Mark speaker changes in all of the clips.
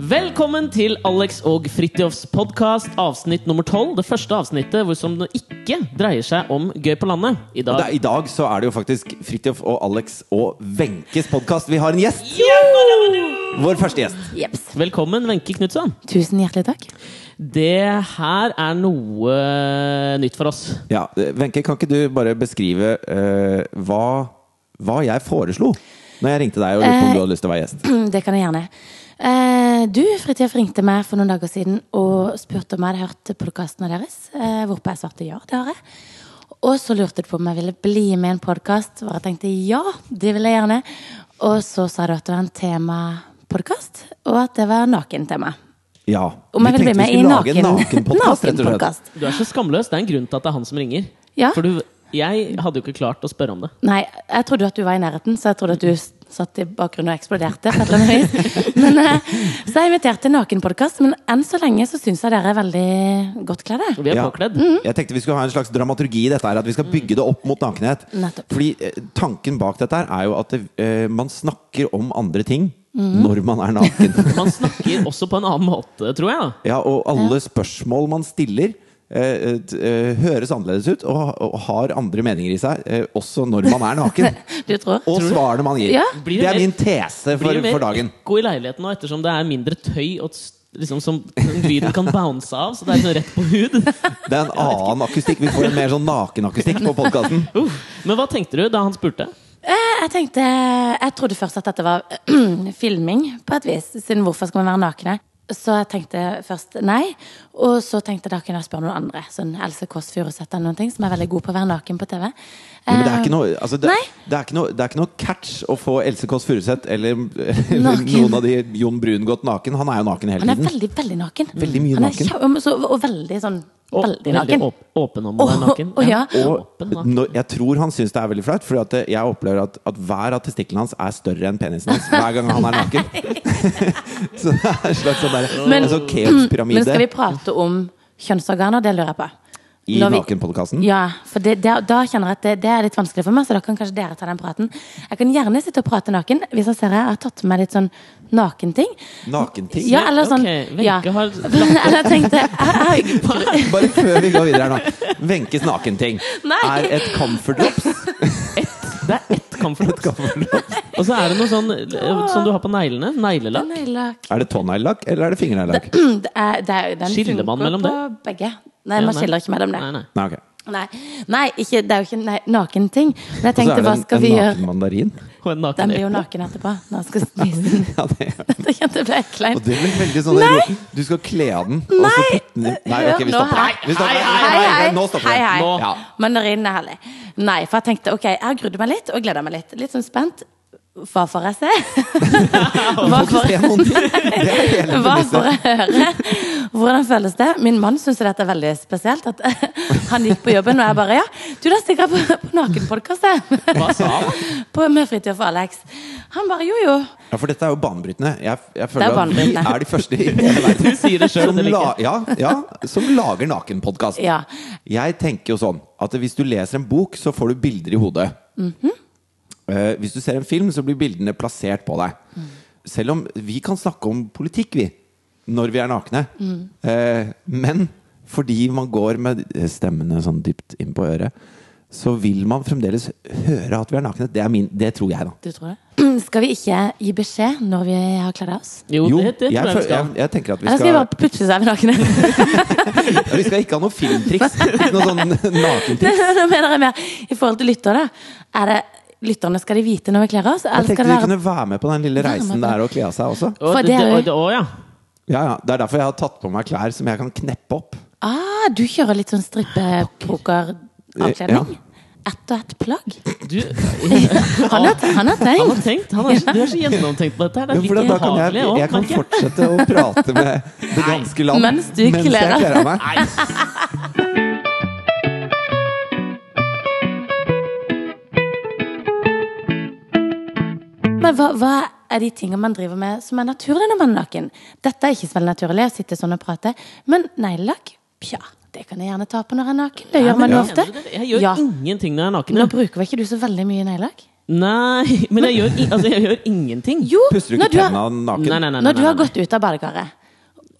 Speaker 1: Velkommen til Alex og Fridtjofs podkast, avsnitt nummer tolv. Det første avsnittet hvor som det ikke dreier seg om gøy på landet. I
Speaker 2: Og det
Speaker 1: dag
Speaker 2: er, I dag så er det jo faktisk Fridtjof og Alex og Wenches podkast. Vi har en gjest! Vår første gjest.
Speaker 3: Jeps.
Speaker 1: Velkommen, Wenche Knutson.
Speaker 3: Tusen hjertelig takk.
Speaker 1: Det her er noe nytt for oss.
Speaker 2: Ja, eh, Wenche, kan ikke du bare beskrive eh, hva, hva jeg foreslo når jeg ringte deg og lurte på om
Speaker 3: Eh,
Speaker 2: du hadde lyst til å være gjest?
Speaker 3: Det kan jeg gjerne. Eh, Du, Fridtjof, ringte meg for noen dager siden og spurte om jeg hadde hørt podkastene deres. eh, Hvorpå jeg svarte ja, det har jeg. Og så lurte du på om jeg ville bli med i en podkast, hvor jeg tenkte ja, det vil jeg gjerne. Og så sa du at det var en temapodkast, og at det var nakentema.
Speaker 2: Ja.
Speaker 3: Om jeg
Speaker 2: vi
Speaker 3: vil bli
Speaker 2: tenkte vi
Speaker 3: med i
Speaker 2: skulle lage en
Speaker 3: naken
Speaker 2: nakenpodkast, rett og slett.
Speaker 3: nakenpodkast.
Speaker 1: Du er så skamløs. Det er en grunn til at det er han som ringer.
Speaker 3: Ja.
Speaker 1: For du, jeg hadde jo ikke klart å spørre om det.
Speaker 3: Nei, jeg trodde at du var i nærheten, så jeg trodde at du s- satt i bakgrunnen og eksploderte. På et eller annet vis. Men, eh, så jeg inviterte nakenpodkast, men enn så lenge så syns jeg dere er veldig godt kledd.
Speaker 1: Vi er
Speaker 2: Ja.
Speaker 1: påkledd.
Speaker 3: Mhm.
Speaker 2: Jeg tenkte vi skulle ha en slags dramaturgi i dette her, at vi skal bygge det opp mot nakenhet.
Speaker 3: Nettopp.
Speaker 2: Fordi eh, tanken bak dette her er jo at det, eh, man snakker om andre ting
Speaker 3: Mhm.
Speaker 2: når man er naken.
Speaker 1: Man snakker også på en annen måte, tror jeg. da.
Speaker 2: Ja, og alle spørsmål man stiller eh, t- eh, høres annerledes ut og, og har andre meninger i seg, eh, også når man er naken.
Speaker 3: Du tror?
Speaker 2: Og svarene man gir.
Speaker 3: Ja.
Speaker 1: Blir det
Speaker 2: Det er
Speaker 1: mer-
Speaker 2: min tese
Speaker 1: Blir det
Speaker 2: for,
Speaker 1: mer
Speaker 2: for dagen.
Speaker 1: ekko i leiligheten nå, ettersom det er mindre tøy og s- liksom som den lyden kan bounce av. Så det er sånn rett på hud.
Speaker 2: Det er en annen akustikk. Vi får en mer sånn nakenakustikk på podkasten.
Speaker 1: Uff. Men hva tenkte du da han spurte?
Speaker 3: Eh, Jeg tenkte, jeg trodde først at dette var filming, på et vis. Siden hvorfor skal man være nakne? Så jeg tenkte først nei, og så tenkte jeg da kunne jeg spørre noen andre. Sånn Else Kåss Furuseth eller noen ting, som er veldig god på å være naken på TV. Eh,
Speaker 2: Men det er ikke noe, altså det,
Speaker 3: Nei.
Speaker 2: det er ikke noe, det er ikke noe catch å få Else Kåss Furuseth eller, eller
Speaker 3: Naken.
Speaker 2: noen av de Jon Brun gått naken. Han er jo naken hele
Speaker 3: Han er
Speaker 2: tiden.
Speaker 3: veldig, veldig naken.
Speaker 2: Veldig mye
Speaker 3: Han er
Speaker 2: naken.
Speaker 3: kjempe- så- Og veldig sånn
Speaker 1: Å,
Speaker 3: Veldig naken.
Speaker 1: åp åpen om å være
Speaker 3: Å,
Speaker 1: naken.
Speaker 3: å, ja.
Speaker 2: Og
Speaker 1: åpen naken.
Speaker 2: når, jeg tror han syns det er veldig flaut, for jeg opplever at, at hver av testiklene hans er større enn penisen hans hver gang han er naken. så det er en slags sånn der,
Speaker 3: Men-
Speaker 2: altså
Speaker 3: Mm. Men skal
Speaker 2: keopspyramide
Speaker 3: vi prate om kjønnsorganer? Det lurer jeg på.
Speaker 2: i
Speaker 3: Når vi-
Speaker 2: nakenpodkasten.
Speaker 3: Ja, for det, det, da kjenner jeg at det, det er litt vanskelig for meg, så da kan kanskje dere ta den praten. Jeg kan gjerne sitte og prate naken, hvis jeg ser jeg har tatt med meg litt sånn nakenting.
Speaker 2: Nakenting.
Speaker 3: Ja, eller sånn
Speaker 1: Ok, Wenche
Speaker 3: ja.
Speaker 1: har
Speaker 3: Eller jeg tenkte jeg, jeg, jeg,
Speaker 2: Bare før vi går videre her nå. Wenches nakenting
Speaker 3: Nei.
Speaker 2: er et comfort drops.
Speaker 1: Det er ett comfort. Og så er det noe sånn eh, som du har på neglene. Neglelakk.
Speaker 3: Neglelakk.
Speaker 2: Er det tåneglelakk eller er det fingerneglelakk?
Speaker 3: Det er- det er- den
Speaker 1: Skiller man
Speaker 3: funker
Speaker 1: mellom det?
Speaker 3: på Begge. Nei,
Speaker 1: Ja,
Speaker 3: man
Speaker 1: nei.
Speaker 3: skiller ikke mellom det.
Speaker 1: Nei, nei.
Speaker 2: Nei, ok.
Speaker 3: Nei, nei ikke, det er jo ikke nei, nakenting. Men jeg
Speaker 2: Og så
Speaker 3: tenkte,
Speaker 2: er det
Speaker 3: hva
Speaker 2: en,
Speaker 3: skal
Speaker 2: en
Speaker 3: vi
Speaker 2: naken
Speaker 3: gjøre?
Speaker 2: mandarin.
Speaker 1: Og en naken
Speaker 3: Den blir jo
Speaker 1: eple.
Speaker 3: naken etterpå. Når han skal spise den.
Speaker 2: Ja, det er.
Speaker 3: Dette kjente jeg ble
Speaker 2: Og
Speaker 3: kleint.
Speaker 2: det blir veldig sånn
Speaker 3: Nei!
Speaker 2: Du skal kle av den, og så
Speaker 3: Nei!
Speaker 2: putte den i Nei, ok, vi
Speaker 3: Hør nå
Speaker 2: stopper
Speaker 3: her.
Speaker 2: her. Vi stopper
Speaker 1: Hei,
Speaker 2: her.
Speaker 3: Hei, hei.
Speaker 2: Nå stopper
Speaker 3: hei,
Speaker 2: vi.
Speaker 3: hei.
Speaker 1: Nå.
Speaker 2: Ja.
Speaker 3: Mandarinen er herlig. Nei, for jeg tenkte ok, jeg grudde meg litt og gleda meg litt. Litt sånn spent. Hva får jeg se? Hva
Speaker 2: Får
Speaker 3: får,
Speaker 2: ikke se noen ting. Det er hele
Speaker 3: hva
Speaker 2: premisset.
Speaker 3: får jeg høre? Hvordan føles det? Min mann syns dette er veldig spesielt. At han gikk på jobben, og jeg bare ja, du, da stikker jeg på, på nakenpodkast, jeg.
Speaker 1: Hva sa han?
Speaker 3: På- Med Fridtjof og Alex. Han bare jo, jo.
Speaker 2: Ja, for dette er jo banebrytende. Jeg, jeg føler
Speaker 3: Det er
Speaker 2: at vi
Speaker 3: banebrytende.
Speaker 2: er de første i hele verden
Speaker 1: Du sier det sjøl.
Speaker 2: som, la, ja, ja, som lager nakenpodkast.
Speaker 3: Ja.
Speaker 2: Jeg tenker jo sånn at hvis du leser en bok, så får du bilder i hodet.
Speaker 3: Mhm.
Speaker 2: Eh, hvis du ser en film, så blir bildene plassert på deg.
Speaker 3: Mm.
Speaker 2: Selv om vi kan snakke om politikk, vi, når vi er nakne.
Speaker 3: Mm.
Speaker 2: Eh, men fordi man går med stemmene sånn dypt inn på øret, så vil man fremdeles høre at vi er nakne. Det, er min, det tror jeg, da.
Speaker 3: Du tror det? Skal vi ikke gi beskjed når vi har kledd av oss?
Speaker 1: Jo,
Speaker 2: Jo,
Speaker 1: det, det tror jeg
Speaker 2: jeg,
Speaker 1: vi
Speaker 2: føl-
Speaker 1: skal.
Speaker 2: jeg, jeg tenker at vi
Speaker 3: Eller skal vi
Speaker 2: skal
Speaker 3: bare plutselig så er vi nakne?
Speaker 2: Ja, Vi skal ikke ha noe filmtriks. Ikke noe sånn nakentriks.
Speaker 3: Nå mener jeg mer i forhold til lytterne. Er det lytterne skal de vite når vi kler oss?
Speaker 2: Jeg
Speaker 3: Eller
Speaker 2: tenkte
Speaker 3: skal det
Speaker 2: vi
Speaker 3: være
Speaker 2: kunne være med på den lille
Speaker 3: Være med
Speaker 2: reisen
Speaker 3: på
Speaker 2: det er å kle av seg også.
Speaker 1: Å,
Speaker 3: for
Speaker 1: det,
Speaker 3: det er
Speaker 1: det,
Speaker 3: jo-
Speaker 1: det, å, ja.
Speaker 2: Ja, ja, Det er derfor jeg har tatt på meg klær som jeg kan kneppe opp.
Speaker 3: Ah, du kjører litt sånn strippepoker-avkledning? Ett og ett plagg?
Speaker 1: Du,
Speaker 3: Han har, han har
Speaker 1: han
Speaker 3: tenkt!
Speaker 1: har tenkt. Han er, så- du er så gjennomtenkt på dette. her. Det
Speaker 2: Ja,
Speaker 1: er
Speaker 2: for da
Speaker 1: litt
Speaker 2: da kan jeg,
Speaker 1: behagelig òg,
Speaker 2: jeg kan
Speaker 1: merker jeg.
Speaker 2: fortsette å prate med det ganske land
Speaker 3: Mens du
Speaker 2: jeg
Speaker 3: kler deg.
Speaker 2: kler av meg.
Speaker 3: Men hva, hva er de tingene man driver med som er naturlig når man er naken? Dette er ikke så veldig naturlig, å sitte sånn og prate. Men neglelakk, pja, det kan jeg gjerne ta på når jeg er naken. Det gjør man jo
Speaker 1: Ja.
Speaker 3: ofte.
Speaker 1: Jeg gjør
Speaker 3: Ja.
Speaker 1: ingenting når jeg er naken.
Speaker 3: Nå
Speaker 1: jeg.
Speaker 3: bruker vel ikke du så veldig mye neglelakk?
Speaker 1: Nei, men jeg gjør, i, altså, jeg gjør ingenting.
Speaker 3: Jo,
Speaker 2: Puster du
Speaker 3: når
Speaker 2: ikke
Speaker 3: du har-
Speaker 2: tenna naken?
Speaker 1: Nei, nei, nei.
Speaker 3: Når du har
Speaker 1: nei.
Speaker 3: gått ut av badekaret,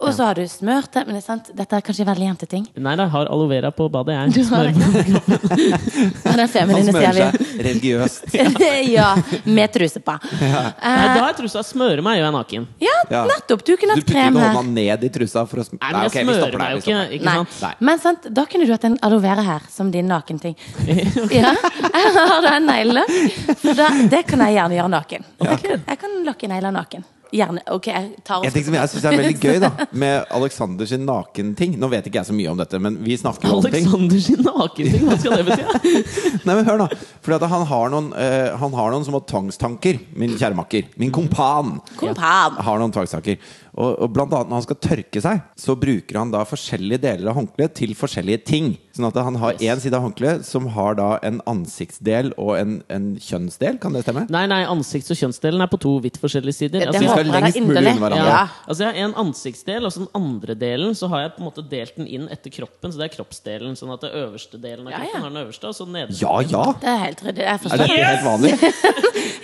Speaker 3: og så har du smørt det men det er sant, Dette er kanskje en veldig jenteting.
Speaker 1: Nei, da, jeg har aloe vera på badet, jeg.
Speaker 3: Du har
Speaker 1: Smør-
Speaker 3: det Ja, Den
Speaker 2: Han
Speaker 3: feminine
Speaker 2: smører
Speaker 3: ser
Speaker 2: seg religiøst.
Speaker 3: vi. ja, med truse på.
Speaker 1: Nei,
Speaker 3: Eh,
Speaker 1: da har jeg trusa smører meg, og jeg er naken.
Speaker 3: ja,
Speaker 2: Ja.
Speaker 3: nettopp. Du kunne
Speaker 2: Du
Speaker 3: hatt
Speaker 2: putter
Speaker 3: krem
Speaker 2: ikke
Speaker 3: her.
Speaker 2: hånda ned i trusa for å sm
Speaker 1: Nei, men jeg
Speaker 2: ok, vi stopper
Speaker 1: smører
Speaker 2: der,
Speaker 1: meg
Speaker 2: vi
Speaker 1: jo ikke.
Speaker 2: stopper der.
Speaker 1: ikke
Speaker 3: Nei.
Speaker 1: sant?
Speaker 2: Nei.
Speaker 3: Men sant, da kunne du hatt en aloe vera her, som din nakenting. Ja, jeg har da en neglelakk. For da, det kan jeg gjerne gjøre naken. Jeg kan lakke negler naken. Gjerne. Ok, jeg tar
Speaker 2: En ting som jeg syns er veldig gøy, da, med Aleksander sin nakenting Nå vet ikke jeg så mye om dette, men vi snakker jo om ting.
Speaker 1: Alexander sin nakenting, hva skal det bety?
Speaker 2: Nei, men hør da Fordi at han har noen, eh, han har noen små tvangstanker, min kjæremakker. Min kompan.
Speaker 3: Kompan.
Speaker 2: har noen tvangstanker. Og, og blant annet når han skal tørke seg, så bruker han da forskjellige deler av håndkleet til forskjellige ting. Sånn at han har én side av håndkleet som har da en ansiktsdel og en, en kjønnsdel, kan det stemme?
Speaker 1: Nei, nei, ansikts- og kjønnsdelen er på to vidt forskjellige sider.
Speaker 3: Det
Speaker 1: Altså, jeg-
Speaker 2: skal
Speaker 3: håper jeg da
Speaker 2: lengst mulig
Speaker 3: inderlig.
Speaker 2: unna hverandre.
Speaker 3: Ja.
Speaker 1: Ja. Altså Jeg har en ansiktsdel, og så den andre delen så har jeg på en måte delt den inn etter kroppen. Så det er kroppsdelen. Sånn at det øverste delen av
Speaker 3: Ja,
Speaker 1: kroppen
Speaker 3: ja.
Speaker 1: har den øverste, og så nederste.
Speaker 2: Ja ja!
Speaker 3: Det er helt ryddig. Jeg
Speaker 2: Er
Speaker 3: forstår.
Speaker 2: dette helt vanlig?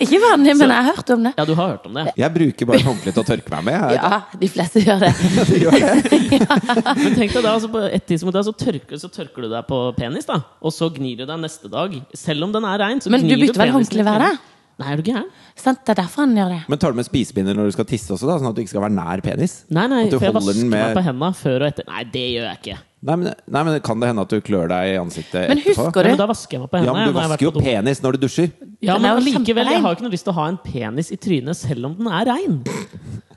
Speaker 3: Ikke vanlig, men jeg har hørt om det.
Speaker 1: Ja, du har hørt om det.
Speaker 2: Jeg bruker bare håndkle til å tørke meg med. Jeg,
Speaker 3: Ja, de fleste gjør det.
Speaker 2: Gjør det.
Speaker 1: Men tenk deg da, altså på et tidspunkt da, så tørker, så tørker du deg på penis, da. Og så gnir du deg neste dag. Selv om den er rein, så
Speaker 3: Men du
Speaker 1: gnir
Speaker 3: bytter vel
Speaker 1: penisen
Speaker 3: håndkle hver
Speaker 1: litt.
Speaker 3: dag?
Speaker 1: Nei, er du gæren?
Speaker 3: Sant, det er derfor han gjør det.
Speaker 2: Men tar du med spisepinner når du skal tisse også, da, sånn at du ikke skal være nær penis?
Speaker 1: Nei, nei,
Speaker 2: At du
Speaker 1: for jeg
Speaker 2: holder
Speaker 1: vasker
Speaker 2: den med-
Speaker 1: meg på henda før og etter. Nei, det gjør jeg ikke.
Speaker 2: Nei men, nei, men kan det hende at du klør deg i ansiktet
Speaker 3: Men
Speaker 2: etterpå?
Speaker 3: husker
Speaker 1: Nei,
Speaker 3: du
Speaker 1: men da vasker jeg meg på
Speaker 2: Ja,
Speaker 1: henda.
Speaker 2: men
Speaker 1: når jeg
Speaker 2: du
Speaker 1: har vært
Speaker 2: vasker jo
Speaker 1: på do.
Speaker 2: penis når du dusjer.
Speaker 1: ja,
Speaker 3: Den er
Speaker 1: men
Speaker 3: jo
Speaker 1: likevel, jeg
Speaker 3: kjemperein.
Speaker 1: har jo ikke noe lyst til å ha en penis i trynet selv om den er rein.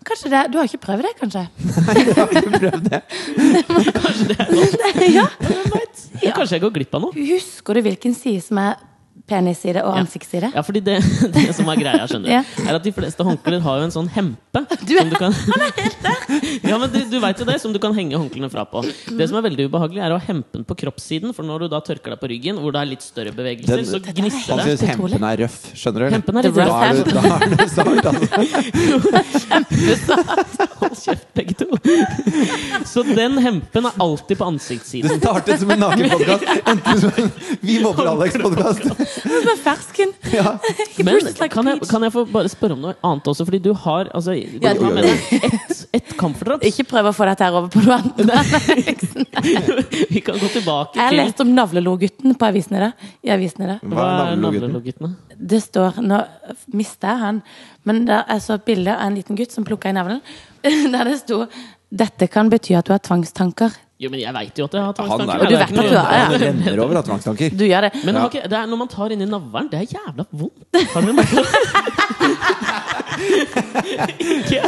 Speaker 3: Kanskje det, Du har ikke prøvd det, kanskje? ja.
Speaker 1: Hvem vet? Kanskje jeg går glipp av noe?
Speaker 3: Husker du hvilken side som er penisside og ansiktsside?
Speaker 1: Ja, fordi det, det som er greia, skjønner du,
Speaker 3: Ja.
Speaker 1: er at de fleste håndklær har jo en sånn hempe.
Speaker 3: Du er-
Speaker 1: som du kan, han er helt Ja, men du, du vet jo det, som du kan henge håndklærne fra på. Det som er veldig ubehagelig, er å ha hempen på kroppssiden, for når du da tørker deg på ryggen, hvor det er litt større bevegelser,
Speaker 2: Den-
Speaker 1: så
Speaker 3: Dette er
Speaker 1: gnisser
Speaker 2: Han
Speaker 1: det.
Speaker 2: syns hempen er røff, skjønner du?
Speaker 1: Hempen er litt
Speaker 3: The
Speaker 2: Da
Speaker 1: røff.
Speaker 2: er du, da er du svart, altså.
Speaker 1: Hold kjeft, begge to. Så den hempen er alltid på
Speaker 2: Det
Speaker 1: ansiktssiden.
Speaker 2: startet som en nakenpodkast, endte som en Vi mobber Alex-podkast.
Speaker 3: Med fersken!
Speaker 2: Ja.
Speaker 1: Men
Speaker 3: Bruce like
Speaker 1: kan jeg,
Speaker 3: peach.
Speaker 1: kan jeg få bare spørre om noe annet også? Fordi du har altså,
Speaker 3: Ja,
Speaker 1: du har med
Speaker 2: det-
Speaker 1: deg ett et kamferdrops.
Speaker 3: Ikke prøv å få dette her over på noe annet.
Speaker 1: Vi kan gå tilbake
Speaker 3: Jeg
Speaker 1: til
Speaker 3: leste om Navlelo-gutten på avisen i dag. I avisen i dag.
Speaker 2: Hva er navnelogutten?
Speaker 1: navleloguttene?
Speaker 3: Det står Nå mista jeg han, men det er så et bilde av en liten gutt som plukka i navlen. Der det sto 'Dette kan bety at du har tvangstanker'.
Speaker 1: Jo, men jeg veit jo at jeg har
Speaker 2: Han
Speaker 1: tvangstanker.
Speaker 2: er,
Speaker 1: det
Speaker 3: du
Speaker 1: er
Speaker 3: vet
Speaker 1: ikke noe
Speaker 3: at du
Speaker 1: å gjøre
Speaker 3: er-
Speaker 2: han renner over av tvangstanker.
Speaker 3: Du gjør det.
Speaker 1: Men
Speaker 2: Ja.
Speaker 1: har ikke- det er, når man tar inni navlen, det er jævla vondt. Har dere merket det? Ikke?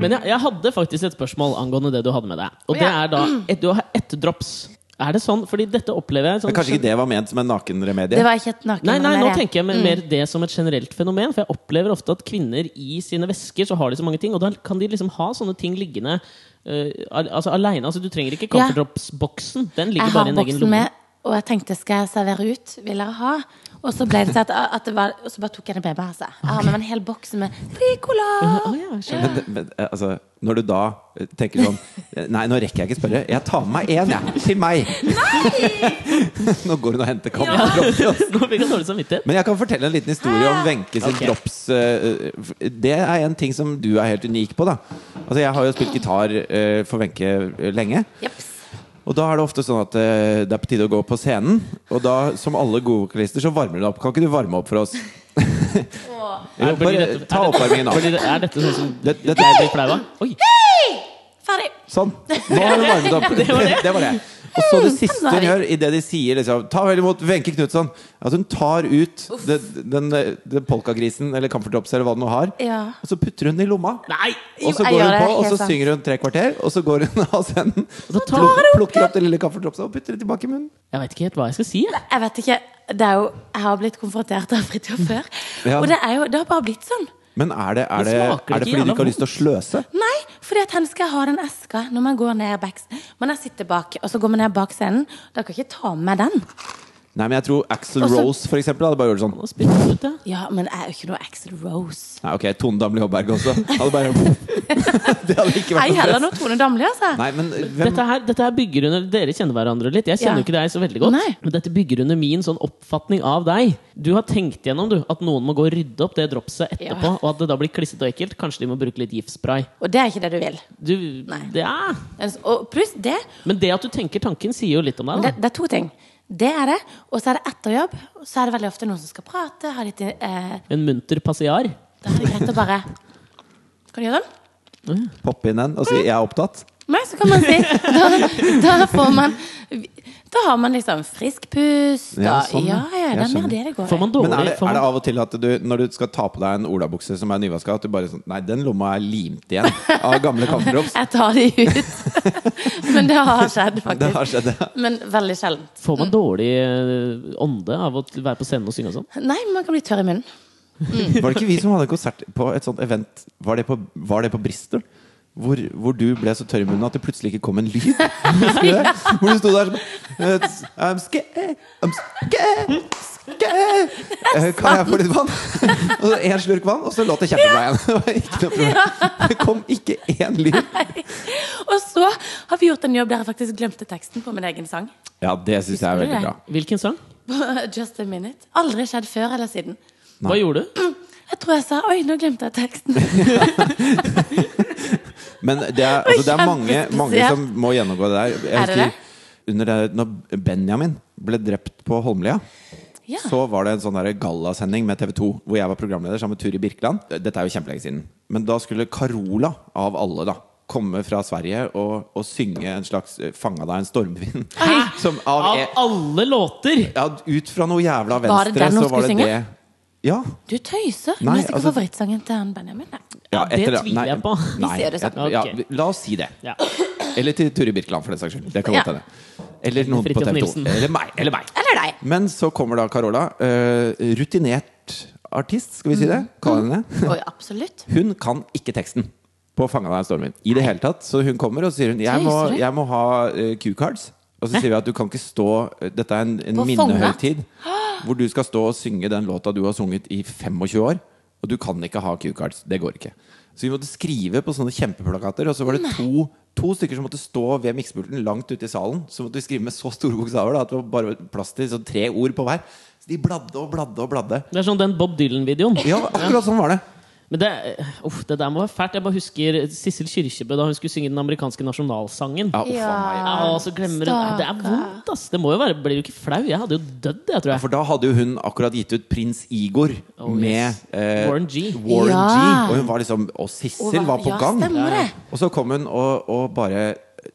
Speaker 1: Men jeg, jeg hadde faktisk et spørsmål angående det du hadde med deg. Og det
Speaker 3: Ja. Mm.
Speaker 1: er da et, Du har ett drops. Er det sånn? Fordi dette opplever jeg sånn,
Speaker 2: Men kanskje ikke det var ment som en
Speaker 3: Det
Speaker 2: nakenremedie?
Speaker 3: var ikke et naken
Speaker 1: Nei, nei, nå
Speaker 3: men det-
Speaker 1: tenker jeg mer,
Speaker 3: Mm.
Speaker 1: mer det som et generelt fenomen. For jeg opplever ofte at kvinner i sine vesker så har de så mange ting, og da kan de liksom ha sånne ting liggende eh, al altså aleine. Altså, du trenger ikke
Speaker 3: Ja.
Speaker 1: Comfordrops-boksen. Den
Speaker 3: Jeg
Speaker 1: ligger
Speaker 3: har
Speaker 1: bare i en egen
Speaker 3: boksen
Speaker 1: lomme.
Speaker 3: med, og jeg tenkte skal jeg servere ut? Vil dere ha? Og så ble det til at, at det var Og så bare tok jeg det med meg. Altså. Jeg har med meg en hel boks med Ricola!
Speaker 1: Ah, ja, skjønner.
Speaker 2: Men, men, eh, altså, når du da eh, tenker sånn eh, Nei, nå rekker jeg ikke spørre. Jeg tar med meg én, jeg. Til meg. Nå går hun og henter kamera.
Speaker 1: Nå fikk jeg dårlig samvittighet.
Speaker 2: Men jeg kan fortelle en liten historie om Wenche sin
Speaker 1: Ah, Ok.
Speaker 2: drops. eh, f- Det er en ting som du er helt unik på, da. Altså, jeg har jo spilt gitar eh, for Wenche eh, lenge.
Speaker 3: Jeps.
Speaker 2: Og da er det ofte sånn at eh, det er på tide å gå på scenen. Og da, som alle gode vokalister, så varmer du opp. Kan ikke du varme opp for oss? Jo,
Speaker 1: Blir
Speaker 2: bare
Speaker 1: dette- er
Speaker 2: ta
Speaker 1: det-
Speaker 2: oppvarmingen av.
Speaker 1: blir det- Er dette sånn som
Speaker 2: Det- det-
Speaker 1: jeg blir flau av? Oi!
Speaker 3: Ferdig.
Speaker 2: Sånn. Nå har du varmet opp.
Speaker 1: Det var det.
Speaker 2: Det var det. Og så det siste
Speaker 3: Nei.
Speaker 2: hun gjør, idet de sier liksom, 'ta vel imot Wenche Knutson', at hun tar ut den, den, eh, den polkagrisen eller comfortdrops eller hva den nå har,
Speaker 3: Ja.
Speaker 2: og så putter hun den i lomma.
Speaker 1: Nei!
Speaker 2: Og så
Speaker 3: Jo, jeg
Speaker 2: går
Speaker 3: gjør
Speaker 2: hun
Speaker 3: det,
Speaker 2: på, og
Speaker 3: helt
Speaker 2: så
Speaker 3: sant.
Speaker 2: synger hun tre kvarter, og så går hun av scenen.
Speaker 1: Og så tar hun det
Speaker 2: plukker opp det lille comfortdropset og putter det tilbake i munnen.
Speaker 1: Jeg vet ikke helt hva jeg skal si. jeg.
Speaker 3: Jeg vet ikke. Det er jo, jeg har blitt konfrontert av Fridtjof før.
Speaker 2: Ja.
Speaker 3: Og det, er jo, det har bare blitt sånn.
Speaker 2: Men er det, er
Speaker 1: Det
Speaker 2: det,
Speaker 1: smaker
Speaker 2: er det
Speaker 1: ikke
Speaker 2: fordi du ikke
Speaker 1: jævla
Speaker 2: har lyst til å sløse?
Speaker 3: Nei, fordi at hen skal ha den eska når man går ned backs. Men jeg sitter bak, og så går man ned bak scenen. Da kan jeg ikke ta med meg den.
Speaker 2: Nei, men jeg tror Axel
Speaker 3: Også-
Speaker 2: Rose, for eksempel, hadde bare gjort sånn.
Speaker 1: Nå spytter jeg ut, ja.
Speaker 3: Ja, men jeg er jo ikke noe Axel Rose.
Speaker 2: Nei, ok, Tone Damli Håberg også. Hadde bare Det hadde ikke
Speaker 3: Ei
Speaker 2: vært
Speaker 3: heller noe Tone Damli, altså.
Speaker 2: Nei, men hvem
Speaker 1: Dette her, dette her bygger under Dere kjenner hverandre litt. Jeg kjenner
Speaker 3: Ja.
Speaker 1: jo ikke deg så veldig godt.
Speaker 3: Nei.
Speaker 1: Men dette bygger under min sånn oppfatning av deg. Du har tenkt gjennom du, at noen må gå og rydde opp det dropset etterpå,
Speaker 3: Ja.
Speaker 1: og at det da blir klissete og ekkelt. Kanskje de må bruke litt giftspray.
Speaker 3: Og det er ikke det du vil.
Speaker 1: Du,
Speaker 3: Nei.
Speaker 1: det er.
Speaker 3: Og pluss det
Speaker 1: Men det at du tenker tanken, sier jo litt om deg.
Speaker 3: det, det er to ting. Det er det. Og så er det etter jobb. Så er det veldig ofte noen som skal prate. Ha litt, eh,
Speaker 1: da En munter passiar.
Speaker 3: da er det greit å bare Kan du gjøre den?
Speaker 2: poppe inn den og si 'jeg er opptatt'?
Speaker 3: Nei, så kan man si Da, da får man Da har man liksom frisk pust.
Speaker 2: Ja,
Speaker 3: Ja,
Speaker 2: sånn,
Speaker 3: ja,
Speaker 2: ja.
Speaker 3: ja, det
Speaker 2: Jeg
Speaker 3: er mer
Speaker 2: skjønner.
Speaker 3: det det går
Speaker 1: Får man
Speaker 2: Men
Speaker 1: dårlig
Speaker 2: er det,
Speaker 1: får
Speaker 2: er det
Speaker 1: man,
Speaker 2: av og til at du, når du skal ta på deg en olabukse som er nyvaska, at du bare sånn Nei, den lomma er limt igjen av gamle kampdrops.
Speaker 3: Jeg tar de ut. Men det har skjedd, faktisk.
Speaker 2: Det har skjedd, ja.
Speaker 3: Men veldig sjeldent.
Speaker 1: får man dårlig eh, ånde av å være på scenen og synge og sånn?
Speaker 3: Nei, men man kan bli tørr i munnen.
Speaker 2: Var det ikke vi som hadde en konsert på et sånt event Var det på, var det på Bristol? Hvor, hvor du ble så tørr i munnen at det plutselig ikke kom en lyd? Husker du det? Hvor du sto der sånn eh, I'm scared, I'm scared, scared. Eh, Kan jeg få litt vann? Og så én slurk vann, og så låt det kjempebra igjen. Det var ikke noe problem. Det kom ikke én lyd.
Speaker 3: Og så har vi gjort en jobb der jeg faktisk glemte teksten på min egen sang.
Speaker 2: Ja, det syns jeg er
Speaker 3: Husker du
Speaker 2: veldig
Speaker 3: det?
Speaker 2: bra.
Speaker 1: Hvilken sang?
Speaker 3: Just a minute. Aldri skjedd før eller siden.
Speaker 1: Hva gjorde du?
Speaker 3: Jeg tror jeg sa 'oi, nå glemte jeg teksten'.
Speaker 2: Men det er, altså, det er mange,
Speaker 3: kjempespesielt.
Speaker 2: mange som må gjennomgå det der. Jeg
Speaker 3: Er det
Speaker 2: husker under det, når Benjamin ble drept på Holmlia,
Speaker 3: Ja.
Speaker 2: så var det en sånn der gallasending med TV 2 hvor jeg var programleder sammen med Turi Birkeland. Dette er jo kjempelenge siden. Men da skulle Carola, av alle, da komme fra Sverige og, og synge en slags eh, 'Fanga deg en stormvind'.
Speaker 1: Hæ?
Speaker 2: Som av,
Speaker 1: Av
Speaker 2: en-
Speaker 1: alle låter!
Speaker 2: ja, ut fra noe jævla
Speaker 3: Var
Speaker 2: venstre,
Speaker 3: det den hun
Speaker 2: så var
Speaker 3: skulle
Speaker 2: det
Speaker 3: synge?
Speaker 2: det. Ja,
Speaker 3: Du tøyser.
Speaker 2: Nei,
Speaker 3: Men det er sikkert
Speaker 2: altså-
Speaker 3: favorittsangen til han Benjamin. da.
Speaker 1: Ja, det
Speaker 2: etter
Speaker 1: tviler
Speaker 2: Nei,
Speaker 1: jeg på.
Speaker 3: Vi
Speaker 2: Nei,
Speaker 3: ser det
Speaker 2: jeg-
Speaker 1: sånn.
Speaker 2: ja,
Speaker 1: Ok.
Speaker 2: vi- la oss si det.
Speaker 1: Ja.
Speaker 2: Eller til Turi Birkeland, for den saks skyld. Det kan
Speaker 3: Ja.
Speaker 2: godt hende. Eller noen på
Speaker 1: Fridtjof
Speaker 2: TV 2.
Speaker 1: Nilsen.
Speaker 2: Eller meg. Eller meg.
Speaker 3: Eller deg.
Speaker 2: Men så kommer da Carola. eh, rutinert artist, skal vi si det? Kalle henne.
Speaker 3: Oi, absolutt.
Speaker 2: Hun kan ikke teksten på 'Fanga deg en stormvind' i det hele tatt. Så hun kommer og sier hun, jeg
Speaker 3: Tøyser
Speaker 2: må,
Speaker 3: du?
Speaker 2: jeg må ha eh, cue cards. Og så sier vi at du kan ikke stå eh, Dette er en, en
Speaker 3: På
Speaker 2: minnehøytid hvor du skal stå og synge den låta du har sunget i 25 år. Og du kan ikke ha cue cards. Det går ikke. Så vi måtte skrive på sånne kjempeplakater. Og så var det to, to stykker som måtte stå ved miksepulten langt ute i salen. Så måtte vi skrive med så store bokstaver da, at det var bare plass til sånn tre ord på hver. Så de bladde og bladde og bladde.
Speaker 1: Det er sånn den Bob Dylan-videoen.
Speaker 2: Ja, akkurat sånn var det.
Speaker 1: Men det, eh, uff, det der må være fælt. Jeg bare husker Sissel Kyrkjebø da hun skulle synge den amerikanske nasjonalsangen.
Speaker 2: Ja, å, faen meg.
Speaker 1: Ja, og så glemmer hun Det er vondt, ass! Det må jo være, blir jo ikke flau. Jeg hadde jo dødd, jeg, tror jeg.
Speaker 2: For da hadde jo hun akkurat gitt ut Prins Igor
Speaker 1: Oh,
Speaker 2: med eh,
Speaker 1: yes. Warren G.
Speaker 2: Warren
Speaker 3: Ja.
Speaker 2: G. Og hun var liksom Og Sissel
Speaker 3: Og
Speaker 2: var på
Speaker 3: ja,
Speaker 2: gang.
Speaker 3: stemmer det.
Speaker 2: Og så kom hun og, og bare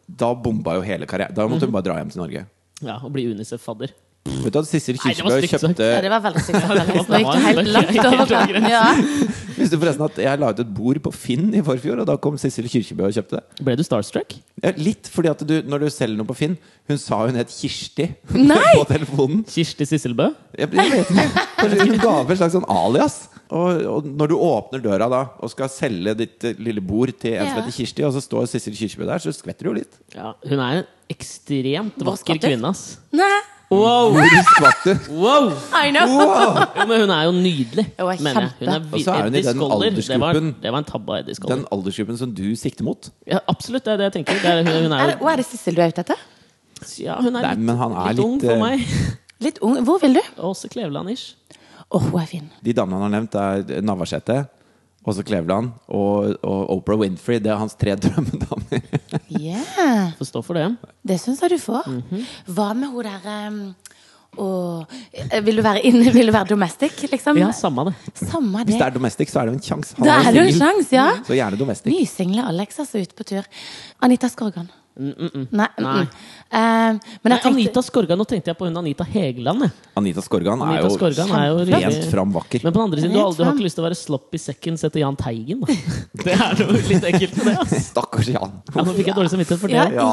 Speaker 2: Da bomba jo hele karrieren. Da
Speaker 3: Mm.
Speaker 2: måtte hun bare dra hjem til Norge.
Speaker 1: Ja, Å bli Unicef-fadder.
Speaker 2: Vet du at Sissel
Speaker 1: Nei, det var
Speaker 2: Kyrkjebø
Speaker 1: stygt sagt.
Speaker 2: kjøpte
Speaker 3: Ja, det var veldig sykt. Alex. Nå
Speaker 1: det
Speaker 3: gikk
Speaker 1: var
Speaker 3: du
Speaker 1: en
Speaker 3: helt
Speaker 1: veldig-
Speaker 3: langt
Speaker 1: helt
Speaker 3: over
Speaker 1: over
Speaker 3: kanten.
Speaker 1: grensen.
Speaker 3: Ja.
Speaker 2: Visste du forresten at jeg la ut et bord på Finn i forfjor, og da kom Sissel Kyrkjebø og kjøpte det?
Speaker 1: Ble du starstruck?
Speaker 2: Ja, litt fordi at du, når du selger noe på Finn Hun sa hun het Kirsti
Speaker 3: Nei!
Speaker 2: på telefonen.
Speaker 1: Kirsti Sisselbø?
Speaker 2: Jeg, jeg vet ikke. Kanskje hun ga opp en slags sånn alias. Og, og når du åpner døra da og skal selge ditt eh, lille bord til en som
Speaker 3: Ja.
Speaker 2: heter Kirsti, og så står Sissel Kyrkjebø der, så skvetter du jo litt.
Speaker 1: Ja, hun er en ekstremt
Speaker 3: Hva
Speaker 1: vakker
Speaker 3: skal til?
Speaker 1: kvinne, ass.
Speaker 3: Nei,
Speaker 1: Wow!
Speaker 2: Du skvatter.
Speaker 1: wow.
Speaker 3: I know.
Speaker 2: Wow!
Speaker 1: Jo, men hun er jo nydelig,
Speaker 3: Hun er
Speaker 1: mener jeg. Hun er
Speaker 3: kjempe.
Speaker 2: Og så er hun i
Speaker 1: Eddie
Speaker 2: den
Speaker 1: Scholler, Det var,
Speaker 2: aldersgruppen.
Speaker 1: det var en tabbe av Eddie Scholler.
Speaker 2: Den aldersgruppen som du sikter mot.
Speaker 1: Ja, absolutt, det er det jeg tenker. Det er, hun, hun er
Speaker 3: Er det,
Speaker 1: jo
Speaker 3: og er det Sissel du er ute etter?
Speaker 1: ja, hun er
Speaker 2: Nei,
Speaker 1: litt,
Speaker 2: men han er
Speaker 1: litt, ung
Speaker 2: litt, eh,
Speaker 1: for meg.
Speaker 3: Litt ung. Hvor vil du?
Speaker 1: Åse Kleveland-ish.
Speaker 3: Åh, hun er fin.
Speaker 2: De damene han har nevnt, er Navarsete, Åse Kleveland og, og Oprah Winfrey. Det er hans tre drømmedamer.
Speaker 3: Yeah.
Speaker 1: Får stå for det.
Speaker 3: Det syns jeg du får.
Speaker 1: Mhm.
Speaker 3: Hva med hun der um, og, eh, vil, du være inne, vil du være domestic, liksom?
Speaker 1: Ja, samme det.
Speaker 3: Samme
Speaker 2: Hvis det
Speaker 3: det.
Speaker 2: er domestic, så er det jo en sjanse.
Speaker 3: Da er det jo en sjanse, ja.
Speaker 2: Så gjerne domestic.
Speaker 3: Nysingle Alex, altså, ute på tur. Anita Skorgan. Nei. mm,
Speaker 1: Nei.
Speaker 3: mm. Eh, men
Speaker 1: Nei,
Speaker 3: jeg tenkte
Speaker 1: Anita Skorgan, nå tenkte jeg på hun Anita Hegeland. jeg.
Speaker 2: Anita Skorgan er
Speaker 1: Anita
Speaker 2: jo
Speaker 1: Skorgan er jo
Speaker 2: pent
Speaker 1: rimelig-
Speaker 2: fram vakker.
Speaker 1: Men på den andre siden, du, har aldri- du har
Speaker 3: Rett
Speaker 1: ikke lyst til å være sloppy seconds etter Jahn Teigen. Da. Det er noe litt ekkelt med det. ass.
Speaker 2: Stakkars Jan.
Speaker 1: Ja, nå fikk jeg dårlig samvittighet for
Speaker 3: Ja,
Speaker 1: det.
Speaker 2: Ja.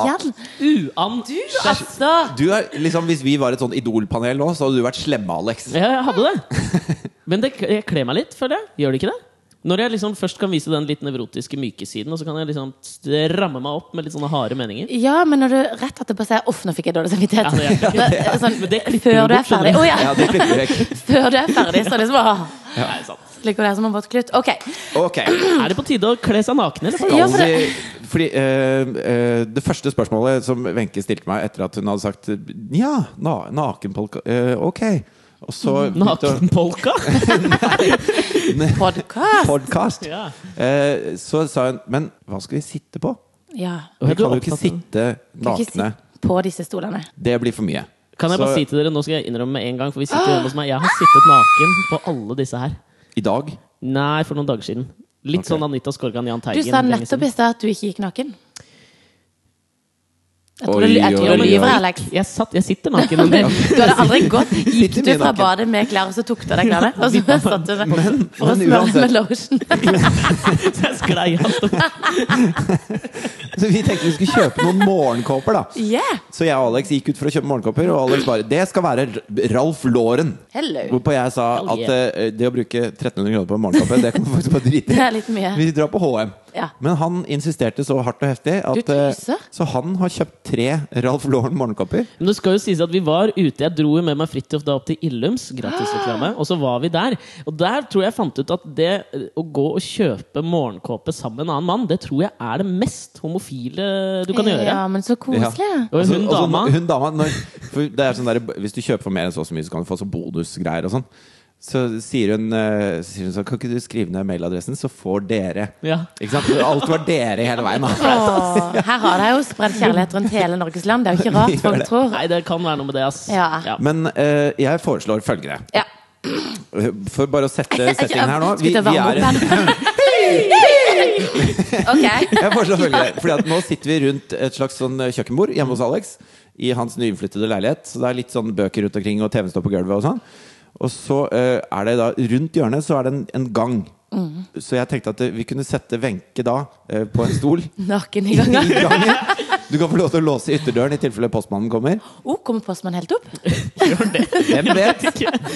Speaker 3: igjen.
Speaker 1: Uansett.
Speaker 3: Altså!
Speaker 2: Du er, liksom, hvis vi var et sånn idolpanel nå, så hadde du vært slemme, Alex.
Speaker 1: Ja, jeg hadde det. Men det, jeg kler meg litt, føler jeg. Gjør det ikke det? Når jeg liksom først kan vise den litt nevrotiske, myke siden, og så kan jeg liksom ramme meg opp med litt sånne harde meninger
Speaker 3: Ja, men når du rett etterpå sier 'uff, nå fikk jeg dårlig samvittighet'
Speaker 1: Ja, det er-
Speaker 3: Da- sånn,
Speaker 1: Men det klipper
Speaker 3: Før
Speaker 1: du
Speaker 3: du er
Speaker 1: bort, skjønner
Speaker 3: ferdig.
Speaker 1: du.
Speaker 3: Å
Speaker 2: Ja,
Speaker 3: ja!
Speaker 2: det klipper vi vekk.
Speaker 3: Før du er ferdig, så er det liksom «Åh,
Speaker 1: Nei, sant.
Speaker 3: Ligger der som en våt klut. Ok.
Speaker 2: Ok.
Speaker 1: Er det på tide å kle seg naken, eller?
Speaker 3: Ja,
Speaker 2: Skal
Speaker 3: for det-
Speaker 2: vi Fordi eh, eh, det første spørsmålet som Wenche stilte meg etter at hun hadde sagt ja, na, nakenpolka eh, Ok. Og så
Speaker 1: Mm, Nakenpolka?
Speaker 3: Podkast.
Speaker 2: Podkast.
Speaker 1: Ja.
Speaker 2: Eh, så sa hun Men hva skal vi sitte på?
Speaker 3: Ja.
Speaker 2: Vi
Speaker 1: Du er
Speaker 2: kan jo ikke
Speaker 1: opptatt av-
Speaker 2: sitte
Speaker 3: Du kan ikke
Speaker 2: nakne.
Speaker 3: sitte På disse stolene.
Speaker 2: Det blir for mye.
Speaker 1: Kan jeg bare
Speaker 2: Så
Speaker 1: si til dere, nå skal jeg innrømme med en gang, for vi sitter hjemme hos meg. Jeg har sittet naken på alle disse her.
Speaker 2: i dag
Speaker 1: Nei, for noen dager siden. Litt
Speaker 2: Ok.
Speaker 1: sånn Anita Skorgan, Jahn
Speaker 3: Du
Speaker 1: Teigen.
Speaker 3: sa
Speaker 1: lenge
Speaker 3: nettopp i
Speaker 1: siden.
Speaker 3: stad at du ikke gikk naken. Jeg tror
Speaker 2: Oi,
Speaker 3: du, jeg tror
Speaker 2: oi,
Speaker 3: du
Speaker 2: oi.
Speaker 3: lyver, Alex.
Speaker 1: Jeg, satt, jeg sitter naken. men det-
Speaker 3: Du hadde aldri gått. Gikk
Speaker 2: Sitter
Speaker 3: du
Speaker 2: mye
Speaker 3: fra
Speaker 2: naken.
Speaker 3: badet med klær, og så tok du av deg klærne? Og så satt du der for
Speaker 2: men
Speaker 3: å smøre
Speaker 2: uansett.
Speaker 3: med lotion.
Speaker 1: Jeg sklei alt opp.
Speaker 2: Så vi tenkte vi skulle kjøpe noen morgenkåper, da.
Speaker 3: Yeah!
Speaker 2: Så jeg og Alex gikk ut for å kjøpe morgenkåper, og Alex bare Det skal være R- Ralph Lauren.
Speaker 3: Hello.
Speaker 2: Hvorpå jeg sa
Speaker 1: Hell
Speaker 2: at
Speaker 1: yeah.
Speaker 2: eh, det å bruke 1300 kroner på en morgenkåpe, det kan man faktisk bare drite
Speaker 3: Det
Speaker 2: i.
Speaker 3: er litt mye.
Speaker 2: Vi drar på HM.
Speaker 3: Ja.
Speaker 2: Men han insisterte så hardt og heftig at
Speaker 3: Du tuser.
Speaker 2: eh, Så han har kjøpt tre Ralph Lauren morgenkåper.
Speaker 1: Men det skal jo sies at vi var ute. Jeg dro jo med meg Fridtjof da opp til Illums, gratisreklame. Og så var vi der. Og der tror jeg fant ut at det eh, å gå og kjøpe morgenkåpe sammen med en annen mann, det tror jeg er det mest homofile du kan gjøre.
Speaker 3: Ja, men så koselig.
Speaker 2: Ja.
Speaker 1: Og hun
Speaker 2: Altså- altså,
Speaker 1: dama-
Speaker 2: hun dama når, for det er sånn der, Hvis du kjøper for mer enn så, og så mye, så kan du få sånn bonusgreier og sånn. Så sier hun, eh, så sier hun sånn Kan ikke du skrive ned mailadressen, så får dere
Speaker 1: Ja.
Speaker 2: Ikke sant? Alt var dere hele veien. Da.
Speaker 3: Åh, her har de jo spredd kjærlighet rundt hele Norges land. Det er jo ikke rart folk tror.
Speaker 1: Nei, det kan være noe med det, ass.
Speaker 3: Ja.
Speaker 2: Men eh, jeg foreslår følgere.
Speaker 3: Ja.
Speaker 2: For bare å sette settingen her nå Vi,
Speaker 3: Skal vi ta
Speaker 2: vi
Speaker 3: varme
Speaker 2: er
Speaker 3: opp Ok.
Speaker 2: Jeg foreslår følgende. Fordi at nå sitter vi rundt et slags sånn kjøkkenbord hjemme hos Alex. I hans nyinnflyttede leilighet. Så det er litt sånn bøker rundt omkring, og TV-en står på gulvet og sånn. Og så eh, er det da rundt hjørnet så er det en, en gang.
Speaker 3: Mm.
Speaker 2: Så jeg tenkte at eh, vi kunne sette Wenche da eh, på en stol i
Speaker 3: Naken i gangen.
Speaker 2: gangen. Du kan få lov til å låse ytterdøren i tilfelle postmannen kommer.
Speaker 3: Oh, kommer postmannen helt opp?
Speaker 2: Hvem vet?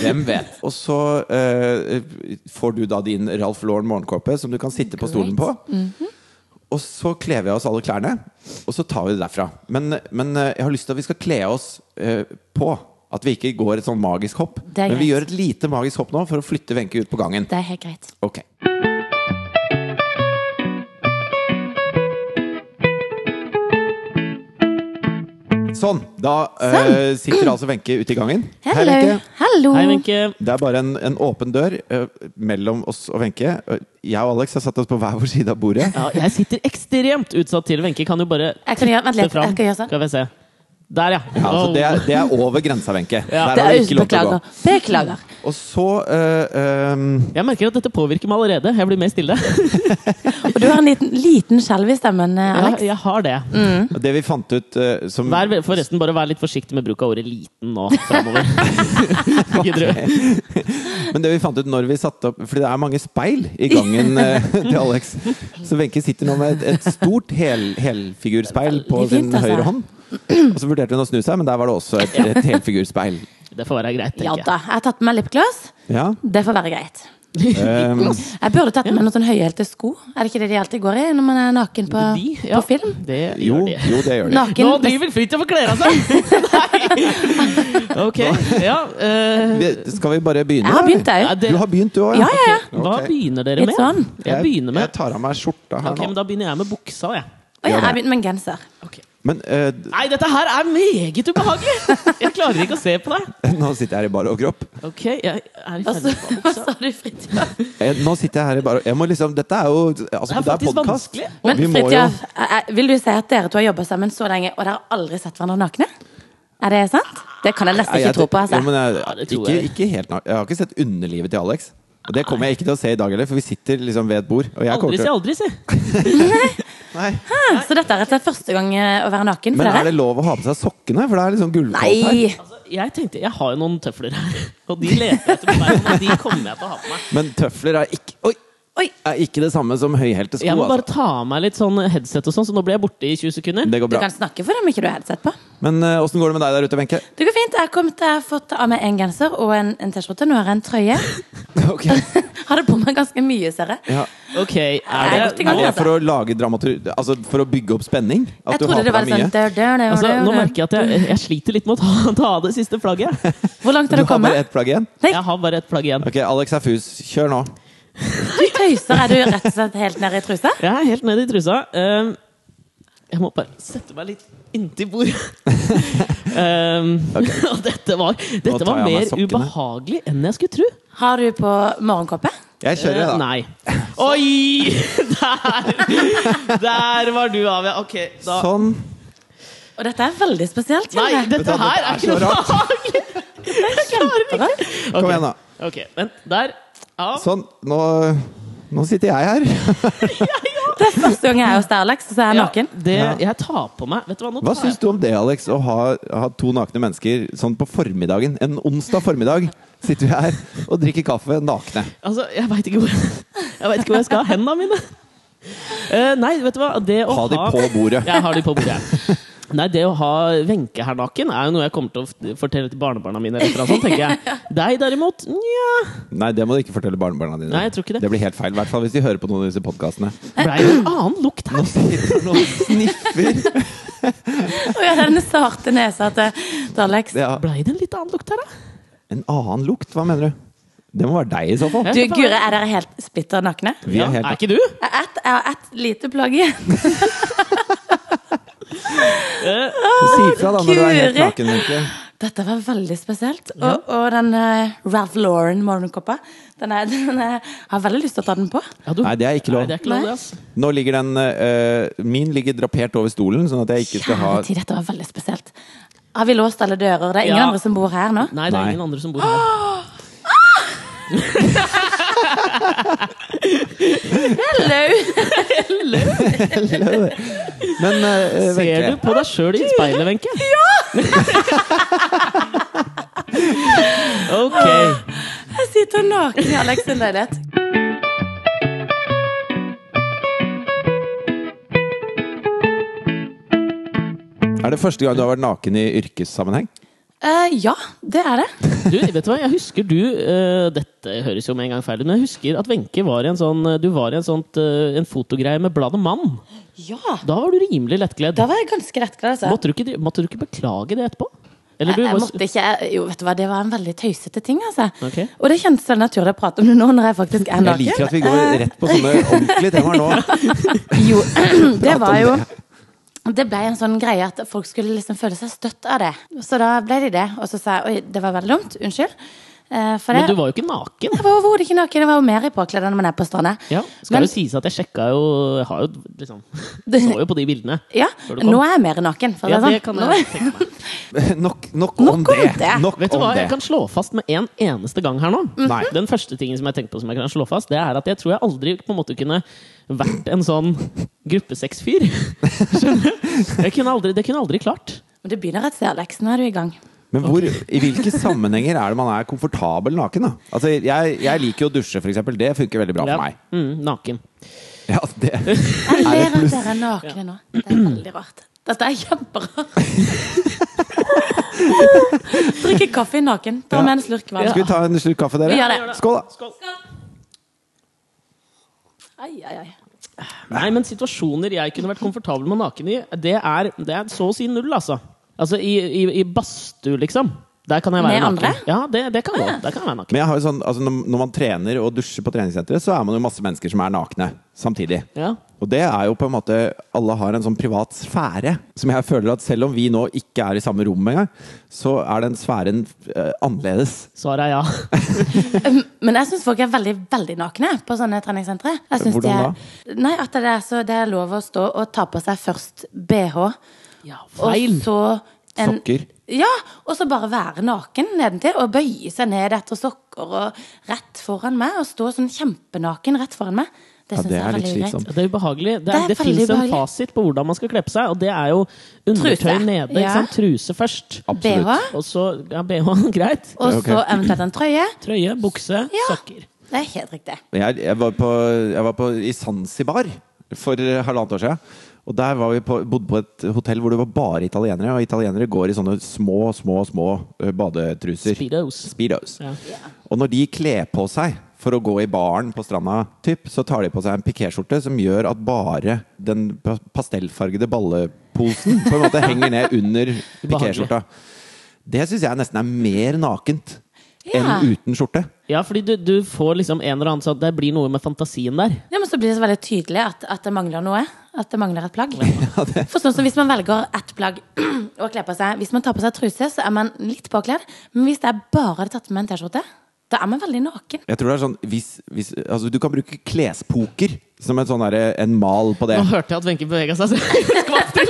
Speaker 2: Hvem vet? Og så eh, får du da din Ralph Lauren morgenkåpe som du kan sitte på stolen på.
Speaker 3: Mm-hmm.
Speaker 2: Og så kler vi av oss alle klærne, og så tar vi det derfra. Men, men eh, jeg har lyst til at vi skal kle oss eh, på. At vi ikke går et sånn magisk hopp.
Speaker 3: er
Speaker 2: Men vi
Speaker 3: greit.
Speaker 2: gjør et lite magisk hopp nå for å flytte Wenche ut på gangen.
Speaker 3: Det er helt greit.
Speaker 2: Ok Sånn. Da eh, sitter altså Wenche ute i gangen. Hei,
Speaker 3: Sånn. Hello.
Speaker 2: Wenche.
Speaker 3: Hallo.
Speaker 1: Hei, Wenche.
Speaker 2: Det er bare en, en åpen dør eh, mellom oss og Wenche. Eh, Jeg og Alex har satt oss på hver vår side av bordet.
Speaker 1: Ja, jeg sitter ekstremt utsatt til. Wenche kan jo bare
Speaker 3: Jeg kan gjøre, vent
Speaker 1: titte
Speaker 3: litt,
Speaker 1: fram.
Speaker 3: jeg kan gjøre sånn.
Speaker 1: Skal vi se. Der, ja.
Speaker 2: Ja, så det, er, det er over grensa, Wenche. Der
Speaker 3: Det
Speaker 2: har
Speaker 3: er
Speaker 2: du ikke lov til å
Speaker 3: Beklager.
Speaker 2: gå.
Speaker 3: Beklager.
Speaker 2: Og så eh, eh,
Speaker 1: Jeg merker at dette påvirker meg allerede. Jeg blir mer stille.
Speaker 3: Og du har en liten, liten skjelv i stemmen, eh,
Speaker 1: Jeg,
Speaker 3: Alex. Mm.
Speaker 1: jeg har det.
Speaker 2: Det vi fant ut eh, som
Speaker 1: Vær, forresten, bare vær litt forsiktig med bruk av ordet 'liten' nå framover. Gidder du?
Speaker 2: Men det vi fant ut når vi satte opp Fordi det er mange speil i gangen eh, til Alex. Så Wenche sitter nå med et, et stort hel, helfigurspeil på
Speaker 3: Veldig
Speaker 2: sin
Speaker 3: fint, altså.
Speaker 2: høyre hånd. Og så vurderte hun å snu seg, men der var det også et, et helfigurspeil.
Speaker 1: Det får være greit,
Speaker 3: Ja
Speaker 1: tenker jeg.
Speaker 3: da. Jeg har tatt med meg lipgloss.
Speaker 2: Ja.
Speaker 3: Det får være greit.
Speaker 2: Um,
Speaker 3: Jeg burde tatt med meg noen sånn høyhælte sko. Er det ikke det de alltid går i når man er naken på,
Speaker 1: De, ja,
Speaker 3: på film?
Speaker 1: Det
Speaker 2: jo,
Speaker 1: gjør de.
Speaker 2: jo, det gjør det.
Speaker 1: Nå
Speaker 3: Naken
Speaker 1: driver Fridtjof og kler av seg! Nei! Ok, ja. eh,
Speaker 2: Vi- Skal vi bare begynne?
Speaker 3: Jeg har begynt, jeg.
Speaker 1: Ja, det-
Speaker 2: Du har begynt, du òg?
Speaker 3: Ja, ja, ja.
Speaker 1: hva begynner dere
Speaker 3: Litt
Speaker 1: med?
Speaker 3: sånn.
Speaker 1: Jeg begynner
Speaker 2: Jeg
Speaker 1: med
Speaker 2: tar av meg skjorta her
Speaker 1: Ok, men
Speaker 2: nå.
Speaker 1: Da begynner jeg med buksa, jeg.
Speaker 3: Å ja,
Speaker 2: Gjør det.
Speaker 3: jeg begynte med en genser.
Speaker 1: Ok.
Speaker 2: Men eh,
Speaker 1: Nei, dette her er meget ubehagelig! Jeg klarer ikke å se på deg.
Speaker 2: nå sitter jeg her i bar overkropp.
Speaker 1: Ok, jeg er i
Speaker 3: Og så-
Speaker 1: ferd med
Speaker 3: Hva sa du, Fridtjof?
Speaker 2: Eh, Nå sitter jeg her i bar Jeg må liksom Dette er jo altså,
Speaker 1: Det er faktisk
Speaker 2: podcast.
Speaker 1: vanskelig.
Speaker 3: Men
Speaker 2: Vi må jo
Speaker 3: Fridtjof, jeg- jeg- vil du si at dere to har jobba sammen så lenge, og dere har aldri sett hverandre nakne? Er det sant? Det kan jeg nesten
Speaker 2: Nei,
Speaker 3: ikke
Speaker 2: jeg
Speaker 3: tro på.
Speaker 2: tror-
Speaker 3: Altså.
Speaker 2: Jo, men jeg,
Speaker 1: Ja, det tror
Speaker 2: ikke,
Speaker 1: jeg.
Speaker 2: ikke helt nær- Jeg har ikke sett underlivet til Alex. Og det kommer jeg ikke til å se i dag heller, for vi sitter liksom ved et bord. Og jeg kommer
Speaker 1: Aldri si
Speaker 2: til å
Speaker 1: aldri, si.
Speaker 2: Nei.
Speaker 3: Ah, Så dette er rett og slett første gang eh, å være naken for
Speaker 2: Men er
Speaker 3: dere?
Speaker 2: det lov å ha på seg sokkene? For det er liksom gullkaldt her.
Speaker 3: Nei!
Speaker 1: Altså, jeg tenkte, jeg har jo noen tøfler her, og de leter jeg etter på veien, og de kommer jeg til å ha på meg.
Speaker 2: Men tøfler er ikke Oi!
Speaker 3: Oi!
Speaker 2: er ikke det samme som høyhælte sko.
Speaker 1: Jeg må bare
Speaker 2: Altså.
Speaker 1: ta av meg litt sånn headset, og sånn, så nå blir jeg borte i 20 sekunder.
Speaker 2: Det går
Speaker 3: Du
Speaker 2: bra.
Speaker 3: kan snakke for dem ikke du har headset på.
Speaker 2: Men eh, åssen går det med deg der ute, Wenche?
Speaker 3: Det går fint. Jeg har kommet, jeg har fått av meg en genser og en, en T-skjorte. Nå har jeg en trøye.
Speaker 2: Ok.
Speaker 3: Hadde på meg ganske mye, ser jeg.
Speaker 2: Ja.
Speaker 1: Ok, er
Speaker 3: Jeg er
Speaker 1: det,
Speaker 3: godt i
Speaker 2: Er
Speaker 3: gang,
Speaker 2: det
Speaker 3: altså.
Speaker 2: for å lage dramatur... Altså for å bygge opp spenning? At
Speaker 3: Jeg
Speaker 2: du har
Speaker 3: trodde
Speaker 2: på
Speaker 3: det var
Speaker 2: deg mye?
Speaker 3: sånn dør, dør, dør,
Speaker 1: altså,
Speaker 3: dør,
Speaker 1: nå
Speaker 3: dør.
Speaker 1: merker jeg at jeg, jeg sliter litt med å ta, ta av det siste flagget.
Speaker 3: Hvor langt
Speaker 2: Du
Speaker 3: har du
Speaker 2: har bare
Speaker 3: kommet?
Speaker 2: ett plagg igjen?
Speaker 3: Nei.
Speaker 1: Jeg har bare ett plagg igjen.
Speaker 2: Ok, Alex er fus. Kjør nå.
Speaker 3: Du tøyser. Er du rett og slett helt nede i trusa?
Speaker 1: Jeg er helt nede i trusa. Ehm, jeg må bare sette meg litt inntil bordet. Ehm, og dette var, dette
Speaker 2: tar
Speaker 1: var
Speaker 2: jeg av meg
Speaker 1: mer
Speaker 2: sokkene.
Speaker 1: ubehagelig enn jeg skulle tro.
Speaker 3: Har du på morgenkåpe?
Speaker 2: Jeg kjører, jeg,
Speaker 1: Eh,
Speaker 2: da.
Speaker 1: Nei. Oi! Der! Der var du av, ja. Ok, da
Speaker 2: Sånn.
Speaker 3: Og dette er veldig spesielt. kjenner
Speaker 1: Nei,
Speaker 3: jeg.
Speaker 1: dette
Speaker 2: Dette
Speaker 1: her
Speaker 2: er
Speaker 1: er ikke
Speaker 2: så
Speaker 1: noe
Speaker 2: rart.
Speaker 1: behagelig! Jeg klarer det ikke.
Speaker 2: Kom igjen, da.
Speaker 1: Ok, vent. Der. Av.
Speaker 2: Sånn. Nå, nå sitter jeg her.
Speaker 3: Det er første gang jeg er hos deg, Alex, og så er jeg
Speaker 1: Ja,
Speaker 3: naken.
Speaker 1: det,
Speaker 2: Ja.
Speaker 1: jeg tar på meg Vet du hva, nå
Speaker 2: Hva
Speaker 1: tar
Speaker 2: syns
Speaker 1: jeg
Speaker 2: du om det, Alex? Å ha, ha to nakne mennesker sånn på formiddagen? En onsdag formiddag sitter vi her og drikker kaffe nakne.
Speaker 1: Altså, jeg veit ikke hvor Jeg vet ikke hvor jeg skal ha hendene mine. Eh, nei, vet du hva det å
Speaker 2: Ha de på bordet.
Speaker 1: Jeg har de på bordet. jeg. Nei, Det å ha Wenche her naken er jo noe jeg kommer til å f- fortelle til barnebarna mine. Eller et eller annet sånt, tenker jeg. Deg derimot nja.
Speaker 2: Nei, det må du ikke fortelle barnebarna dine.
Speaker 1: Nei, jeg tror ikke det.
Speaker 2: det blir helt feil. I hvert fall hvis de hører på noen av disse podkastene.
Speaker 1: Blei det en annen lukt her?
Speaker 2: Nå sitter han og sniffer.
Speaker 3: Og jeg har denne sarte nesa til, til Alex.
Speaker 2: Ja.
Speaker 1: Blei det en litt annen lukt her, da?
Speaker 2: En annen lukt? Hva mener du? Det må være deg, i så fall.
Speaker 1: Ja.
Speaker 3: Du, Gure, er dere helt splitter nakne?
Speaker 2: Vi er helt
Speaker 1: er ikke du?
Speaker 3: Jeg har ett- jeg har ett lite plagg igjen.
Speaker 2: Si fra da når du er helt
Speaker 3: Guri.
Speaker 2: naken, Wenche.
Speaker 3: Dette var veldig spesielt. Og, og den eh, Ralph Lauren morgenkåpa, den, er, den er, jeg har veldig lyst til å ta den på.
Speaker 1: Ja, du
Speaker 2: Nei, det er ikke lov.
Speaker 1: Nei, det er ikke lov,
Speaker 3: Nei.
Speaker 1: det, ass.
Speaker 2: Nå ligger den eh, Min ligger drapert over stolen, sånn at jeg ikke skal ha
Speaker 3: Kjære tid, dette var veldig spesielt. Har vi låst alle dører? Det er ingen
Speaker 1: Ja.
Speaker 3: andre som bor her nå?
Speaker 1: Nei, det er
Speaker 2: Nei. Ah,
Speaker 1: ingen andre som bor her.
Speaker 3: Hello!
Speaker 2: Men eh,
Speaker 1: Ser du
Speaker 2: Wenche,
Speaker 1: på deg sjøl i speilet, Wenche? Ja! ok.
Speaker 3: Jeg sitter naken i Alex sin leilighet.
Speaker 2: er det første gang du har vært naken i yrkessammenheng?
Speaker 3: Eh, ja, det er det.
Speaker 1: Du, vet du hva? Jeg husker du eh, Dette høres jo med en gang feil ut, men jeg husker at Wenche var i en sånn Du var i en, sånt, eh, en fotogreie med bladet Mann.
Speaker 3: Ja,
Speaker 1: Da var du rimelig lettkledd.
Speaker 3: Da var jeg ganske rettglad, altså.
Speaker 1: Måtte, du ikke, måtte du ikke beklage det etterpå? Eller du
Speaker 3: Jeg, jeg
Speaker 1: var-
Speaker 3: måtte ikke, jeg- jo, vet du hva, Det var en veldig tøysete ting. altså.
Speaker 1: Ok.
Speaker 3: Og det kjennes så naturlig å prate om det nå når jeg faktisk er
Speaker 2: Jeg
Speaker 3: naken.
Speaker 2: liker at vi går rett på sånne ordentlige temaer nå.
Speaker 3: Jo, det
Speaker 2: om
Speaker 3: var jo Det ble en sånn greie at folk skulle liksom føle seg støtt av det. Så da ble de det. Og så sa jeg oi, det var veldig dumt. Unnskyld. Eh, For
Speaker 1: Men
Speaker 3: det,
Speaker 1: du var jo ikke naken.
Speaker 3: jeg var overhodet ikke naken. Jeg var jo mer i påkledd enn man er på stranda.
Speaker 1: Ja, skal jo
Speaker 3: Men-
Speaker 1: sies at jeg sjekka jo Jeg har jo liksom Så jo på de bildene.
Speaker 3: Ja,
Speaker 1: Før du kom.
Speaker 3: nå er jeg mer naken. For å si
Speaker 1: Ja,
Speaker 3: sånn.
Speaker 1: det kan
Speaker 3: Nå er-
Speaker 1: jeg tenke meg.
Speaker 2: Nok, nok,
Speaker 3: Nok
Speaker 2: om
Speaker 3: om
Speaker 2: det.
Speaker 3: det. Mhm.
Speaker 2: Nok
Speaker 1: Vet du
Speaker 2: om
Speaker 1: hva,
Speaker 2: det.
Speaker 1: jeg kan slå fast med en eneste gang her nå.
Speaker 2: Nei.
Speaker 1: Den første tingen som jeg tenkte på som jeg kan slå fast, det er at jeg tror jeg aldri på en måte kunne vært en sånn gruppesexfyr. Skjønner du? Jeg kunne aldri, det kunne jeg aldri klart.
Speaker 3: Men det begynner et sted, Alex. Nå er du i gang.
Speaker 2: Men hvor, i hvilke sammenhenger er det man er komfortabel naken? da? Altså, jeg, jeg liker jo å dusje, for eksempel. Det funker veldig bra for meg.
Speaker 1: Mm, naken.
Speaker 2: Ja, det,
Speaker 3: Jeg
Speaker 2: det
Speaker 3: ler
Speaker 2: pluss?
Speaker 3: at dere er nakne nå. Det er veldig rart. Dette er kjemperart. Drikke kaffe naken. Ta med en slurk vann.
Speaker 2: skal vi ta en slurk kaffe, dere?
Speaker 3: Vi gjør det.
Speaker 2: Skål, da.
Speaker 3: Ai, ai, ai.
Speaker 1: Nei, men situasjoner jeg kunne vært komfortabel med naken i, det er, det er så å si null, altså. Altså i, i, i badstue, liksom. Der kan jeg være
Speaker 3: Med
Speaker 1: naken.
Speaker 3: andre?
Speaker 1: Ja, det, det kan gå. Der kan jeg være naken.
Speaker 2: Men jeg har jo sånn, altså, når når man trener og dusjer på treningssenteret, så er man jo masse mennesker som er nakne samtidig.
Speaker 1: Ja.
Speaker 2: Og det er jo på en måte Alle har en sånn privat sfære som jeg føler at selv om vi nå ikke er i samme rom engang, så er den sfæren eh, annerledes.
Speaker 1: Svaret er ja.
Speaker 3: Men jeg syns folk er veldig veldig nakne på sånne treningssentre. Jeg synes
Speaker 2: Hvordan da?
Speaker 3: det er, Nei, at det er, så, det er lov å stå og ta på seg først BH,
Speaker 1: Ja,
Speaker 3: og
Speaker 1: feil!
Speaker 3: så en,
Speaker 2: Sokker.
Speaker 3: Ja, og så bare være naken nedentil og bøye seg ned etter sokker og rett foran meg. Og stå sånn kjempenaken rett foran meg. Det
Speaker 2: Ja,
Speaker 3: syns
Speaker 2: det
Speaker 3: jeg
Speaker 2: er
Speaker 3: er
Speaker 2: litt
Speaker 3: veldig
Speaker 2: slitsomt.
Speaker 3: ugreit.
Speaker 1: Det er ubehagelig. Det,
Speaker 3: Det
Speaker 1: er,
Speaker 3: er
Speaker 1: det
Speaker 3: veldig
Speaker 1: fins en
Speaker 3: ubehagelig.
Speaker 1: fasit på hvordan man skal kle på seg, og det er jo undertøy
Speaker 3: Truse.
Speaker 1: nede. Ikke
Speaker 3: Ja.
Speaker 1: sant? Truse først.
Speaker 3: BH,
Speaker 2: Absolutt.
Speaker 1: Og så ja, BH, greit.
Speaker 3: og
Speaker 2: Ok.
Speaker 3: så eventuelt en trøye.
Speaker 1: Trøye, bukse,
Speaker 3: Ja.
Speaker 1: sokker.
Speaker 3: Det er helt riktig.
Speaker 2: Jeg, jeg var, på, jeg var på, i Zanzibar for eh, halvannet år siden. Og der var vi på, bodde på et hotell hvor det var bare italienere. Og italienere går i sånne små, små, små eh, badetruser.
Speaker 1: Speedos.
Speaker 2: Speedos.
Speaker 1: Ja.
Speaker 2: Og når de kler på seg for å gå i baren på stranda, typ, så tar de på seg en pikéskjorte som gjør at bare den pa- pastellfargede balleposen på en måte henger ned under pikéskjorta. Det syns jeg nesten er mer nakent
Speaker 3: Ja.
Speaker 2: enn uten skjorte.
Speaker 1: Ja, fordi du, du får liksom en eller annen sånn Det blir noe med fantasien der.
Speaker 3: Ja, men så blir det så veldig tydelig at, at det mangler noe. At det mangler et plagg. For sånn som Hvis man velger ett plagg å kle på seg Hvis man tar på seg truse, så er man litt påkledd. Men hvis det er bare tatt med en T-skjorte, da er man veldig naken.
Speaker 2: Jeg tror det er sånn hvis, hvis, altså, Du kan bruke klespoker som en, sånn derre- en mal på det.
Speaker 1: Nå hørte jeg at Wenche bevega seg. så jeg skvatt til.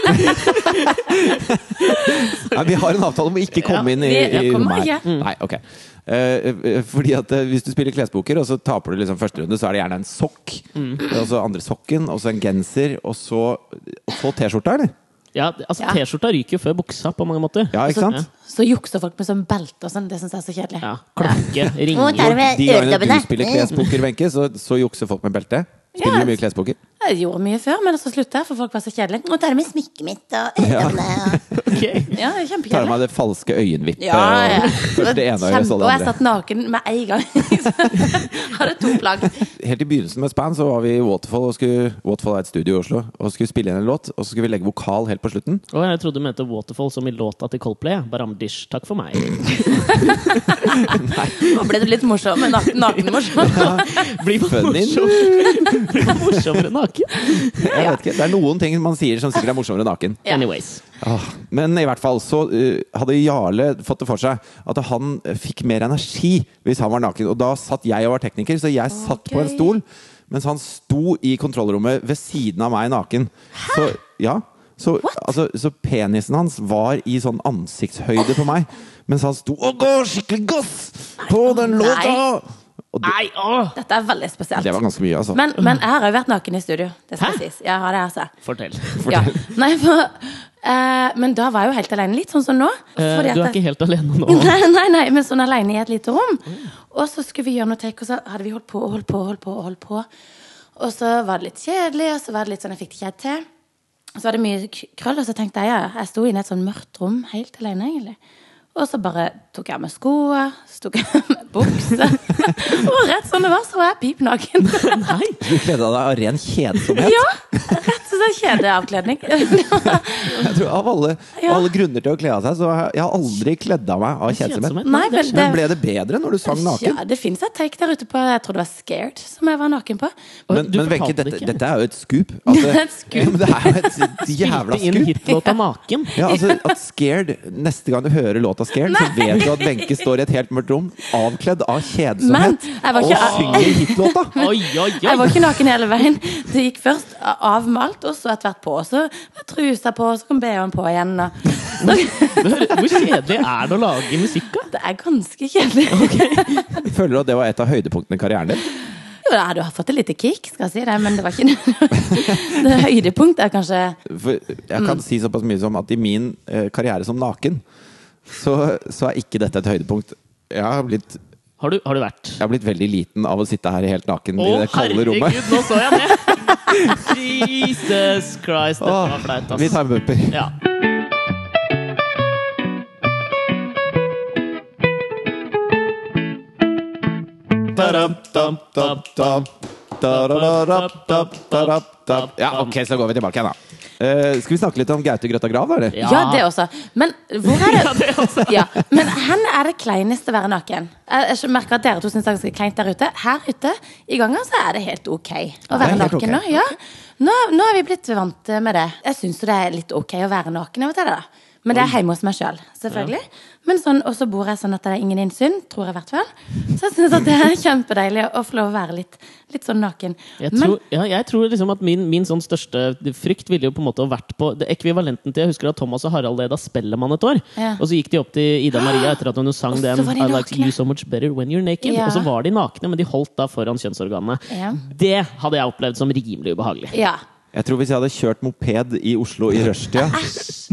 Speaker 2: Nei, vi har en avtale om å ikke komme inn i,
Speaker 3: vi-
Speaker 2: i
Speaker 3: jeg kommer
Speaker 2: rommet her.
Speaker 3: ikke.
Speaker 2: Nei, ok Eh, eh, fordi at eh, Hvis du spiller klespoker og så taper du liksom første runde, så er det gjerne en sokk.
Speaker 3: Mm.
Speaker 2: Og så andre sokken, og så en genser, og så, og så T-skjorta, eller?
Speaker 1: Ja, altså
Speaker 3: Ja.
Speaker 1: T-skjorta ryker jo før buksa, på mange måter.
Speaker 2: Ja, ikke sant?
Speaker 3: Så jukser folk med sånn belte og sånn. Det syns jeg er så kjedelig.
Speaker 1: Ja, Klokke, ringer
Speaker 3: der er vi-
Speaker 2: De gangene
Speaker 3: øredobbene.
Speaker 2: du spiller klespoker, Wenche, så, så jukser folk med belte. Spiller
Speaker 3: Ja.
Speaker 2: du mye klespoker?
Speaker 3: Jeg gjorde mye før, men så slutta jeg, for folk var så kjedelige. Og der med smykket mitt og øynene og
Speaker 1: Ok.
Speaker 3: Ja, det er
Speaker 2: Tar av
Speaker 3: kjempekjedelig.
Speaker 2: meg det falske øyenvippet.
Speaker 3: Ja, ja.
Speaker 2: og Først det ene øyet, så
Speaker 3: Kjempe,
Speaker 2: det
Speaker 3: og jeg
Speaker 2: andre.
Speaker 3: satt naken med en gang. Hadde to plagg.
Speaker 2: Helt i begynnelsen med Span så var vi i Waterfall og skulle, Waterfall er et studio i Oslo og skulle spille inn en låt, og så skulle vi legge vokal helt på slutten.
Speaker 1: Å, jeg trodde du mente Waterfall som i låta til Coldplay. Baramdish, takk for meg.
Speaker 3: Nå ble du litt morsom, men naken, nakenmorsom.
Speaker 1: Bli bare
Speaker 2: Funny.
Speaker 1: morsom. Bli bare morsommere naken.
Speaker 2: Jeg vet ikke, Det er noen ting man sier som sikkert er morsommere naken.
Speaker 3: Ja.
Speaker 1: Anyways.
Speaker 2: Ah, Men i hvert fall så eh, hadde Jarle fått det for seg at han eh, fikk mer energi hvis han var naken. Og da satt jeg og var tekniker, så jeg satt på en
Speaker 3: gøy.
Speaker 2: stol mens han sto i kontrollrommet ved siden av meg naken. Så, ja, så, altså, så penisen hans var i sånn ansiktshøyde på meg mens han sto og ga skikkelig gass på den
Speaker 3: nei.
Speaker 2: låta! Og det,
Speaker 1: Nei, åh!
Speaker 3: Dette er veldig spesielt.
Speaker 2: det var ganske mye, altså.
Speaker 3: Men, men jeg har jo vært naken i studio. Det skal
Speaker 1: Hæ?
Speaker 3: sies. Jeg har det, altså.
Speaker 1: Fortell.
Speaker 3: Ja. Nei, for, eh, men da var jeg jo helt alene, litt sånn som nå.
Speaker 1: Eh,
Speaker 3: fordi at
Speaker 1: du er
Speaker 3: jeg-
Speaker 1: ikke helt alene nå.
Speaker 3: Nei, nei, nei, men sånn alene i et lite rom. Og så skulle vi gjøre noe take, og så hadde vi holdt på og holdt på og holdt på. Og holdt på. Og så var det litt kjedelig, og så var det litt sånn jeg fikk det ikke helt til. Og så var det mye k- krøll, og så tenkte jeg ja, jeg sto inne i et sånn mørkt rom helt alene, egentlig. Og så bare tok jeg av meg skoene, så tok jeg av meg buksa, og rett som det var, så var jeg pip naken.
Speaker 1: Nei.
Speaker 2: Du kledde av deg av ren kjedsomhet.
Speaker 3: ja, rett og slett kjedeavkledning.
Speaker 2: Jeg tror Av alle,
Speaker 3: Ja.
Speaker 2: alle grunner til å kle av seg, så har jeg jeg har aldri kledd av meg av kjedsomhet.
Speaker 1: Kjedsomhet.
Speaker 3: Nei,
Speaker 1: det er sånn.
Speaker 3: vel,
Speaker 1: sant.
Speaker 2: Men ble det bedre når du sang naken?
Speaker 3: Ja, det fins et take der ute på Jeg tror det var Scared, som jeg var naken på.
Speaker 2: Men,
Speaker 1: Du fortalte
Speaker 2: men Wenche,
Speaker 1: det
Speaker 2: dette,
Speaker 1: ikke.
Speaker 2: dette er jo et skup.
Speaker 3: Det er et scoop.
Speaker 2: Ja, men det er jo et jævla
Speaker 1: Spilte inn
Speaker 2: skup.
Speaker 1: hitlåta naken.
Speaker 2: Ja, altså at Scared, Neste gang du hører låta 'Scared', så
Speaker 3: Nei.
Speaker 2: vet du at Wenche står i et helt mørkt rom, avkledd av
Speaker 3: Men
Speaker 2: kjedsomhet,
Speaker 3: jeg var
Speaker 2: og
Speaker 3: ikke-
Speaker 2: synger hitlåta!
Speaker 1: Oi, oi,
Speaker 3: Jeg
Speaker 1: oi.
Speaker 3: var ikke naken hele veien. Det gikk først avmalt, og så etter hvert på. Så med trusa på, så kom BH-en på igjen. Og
Speaker 1: Men hør, Hvor kjedelig er det å lage musikk, da?
Speaker 3: det er ganske kjedelig.
Speaker 2: Føler du at det var et av høydepunktene i karrieren din?
Speaker 3: Jo, da, du har fått et lite kick, skal jeg si det, men det var ikke Det høydepunktet er kanskje
Speaker 2: For jeg
Speaker 3: Mm.
Speaker 2: kan si såpass mye som at i min eh, karriere som naken, så, så er ikke dette et høydepunkt. Jeg har blitt
Speaker 1: Har du, har du vært?
Speaker 2: Jeg har blitt veldig liten av å sitte her helt naken
Speaker 1: Å,
Speaker 2: i det kalde rommet.
Speaker 1: herregud, nå så jeg det! Jesus Christ, dette
Speaker 2: Åh,
Speaker 1: var flaut,
Speaker 2: vi
Speaker 1: ass.
Speaker 2: tar en bumper.
Speaker 1: Ja.
Speaker 2: Ja, ok, så går vi tilbake igjen, da. Eh, skal vi snakke litt om Gaute Grøtta Grav, da? eller?
Speaker 1: Ja.
Speaker 3: Ja, det også. Men hvor er
Speaker 1: Ja,
Speaker 3: det
Speaker 1: det også.
Speaker 3: ja, Men hen er det kleineste å være naken. Jeg jeg merker at dere to syns det er ganske kleint der ute. Her ute i gangen så er det helt ok å
Speaker 2: det er
Speaker 3: være
Speaker 2: helt
Speaker 3: naken nå.
Speaker 2: ok.
Speaker 3: Ja. Nå, nå er vi blitt vant med det. Jeg syns jo det er litt ok å være naken av og til, da. Men det er hjemme hos meg sjøl, selv, selvfølgelig. Men sånn, og så bor jeg sånn at det er ingen innsyn, tror jeg i hvert fall. Så jeg syns at det er kjempedeilig å få lov å være litt, litt sånn naken.
Speaker 1: Jeg
Speaker 3: Men-
Speaker 1: tror, ja, jeg tror liksom at min, min sånn største frykt ville jo på en måte ha vært på det ekvivalenten til Jeg husker at Thomas og Harald leda Spellemann et år.
Speaker 3: Ja.
Speaker 1: Og så gikk de opp til Ida Maria etter at hun sang
Speaker 3: Og så
Speaker 1: den
Speaker 3: var de
Speaker 1: I like
Speaker 3: nakne.
Speaker 1: you so much better when you're naked.
Speaker 3: Ja.
Speaker 1: Og så var de nakne, men de holdt da foran kjønnsorganene.
Speaker 3: Ja.
Speaker 1: Det hadde jeg opplevd som rimelig ubehagelig.
Speaker 3: ja.
Speaker 2: Jeg tror hvis jeg hadde kjørt moped i Oslo i rushtida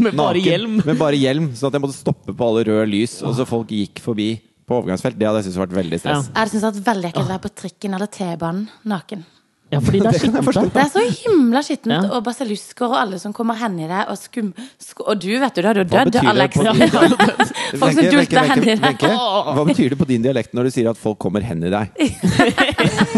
Speaker 1: Med bare
Speaker 2: naken,
Speaker 1: hjelm!
Speaker 2: Med bare hjelm, sånn at jeg måtte stoppe på alle røde lys, og så folk gikk forbi på overgangsfelt, det hadde jeg syntes vært veldig stress.
Speaker 1: Ja.
Speaker 3: Jeg hadde syntes det hadde vært veldig ekkelt å være på trikken eller T-banen naken.
Speaker 1: Ja, fordi det er
Speaker 2: kan jeg
Speaker 1: skittent. da.
Speaker 3: Det er så himla skittent,
Speaker 1: Ja.
Speaker 3: og basillusker og alle som kommer hen i deg, og skum... Sk og du, vet du, da hadde jo
Speaker 2: Hva
Speaker 3: dødd,
Speaker 2: betyr det
Speaker 3: Alex.
Speaker 2: på-
Speaker 3: Folk
Speaker 2: Wenche,
Speaker 3: som
Speaker 2: Wenche,
Speaker 3: dulter hen i
Speaker 2: Wenche,
Speaker 3: deg.
Speaker 2: Wenche, Hva betyr det på din dialekt når du sier at folk kommer hen i deg?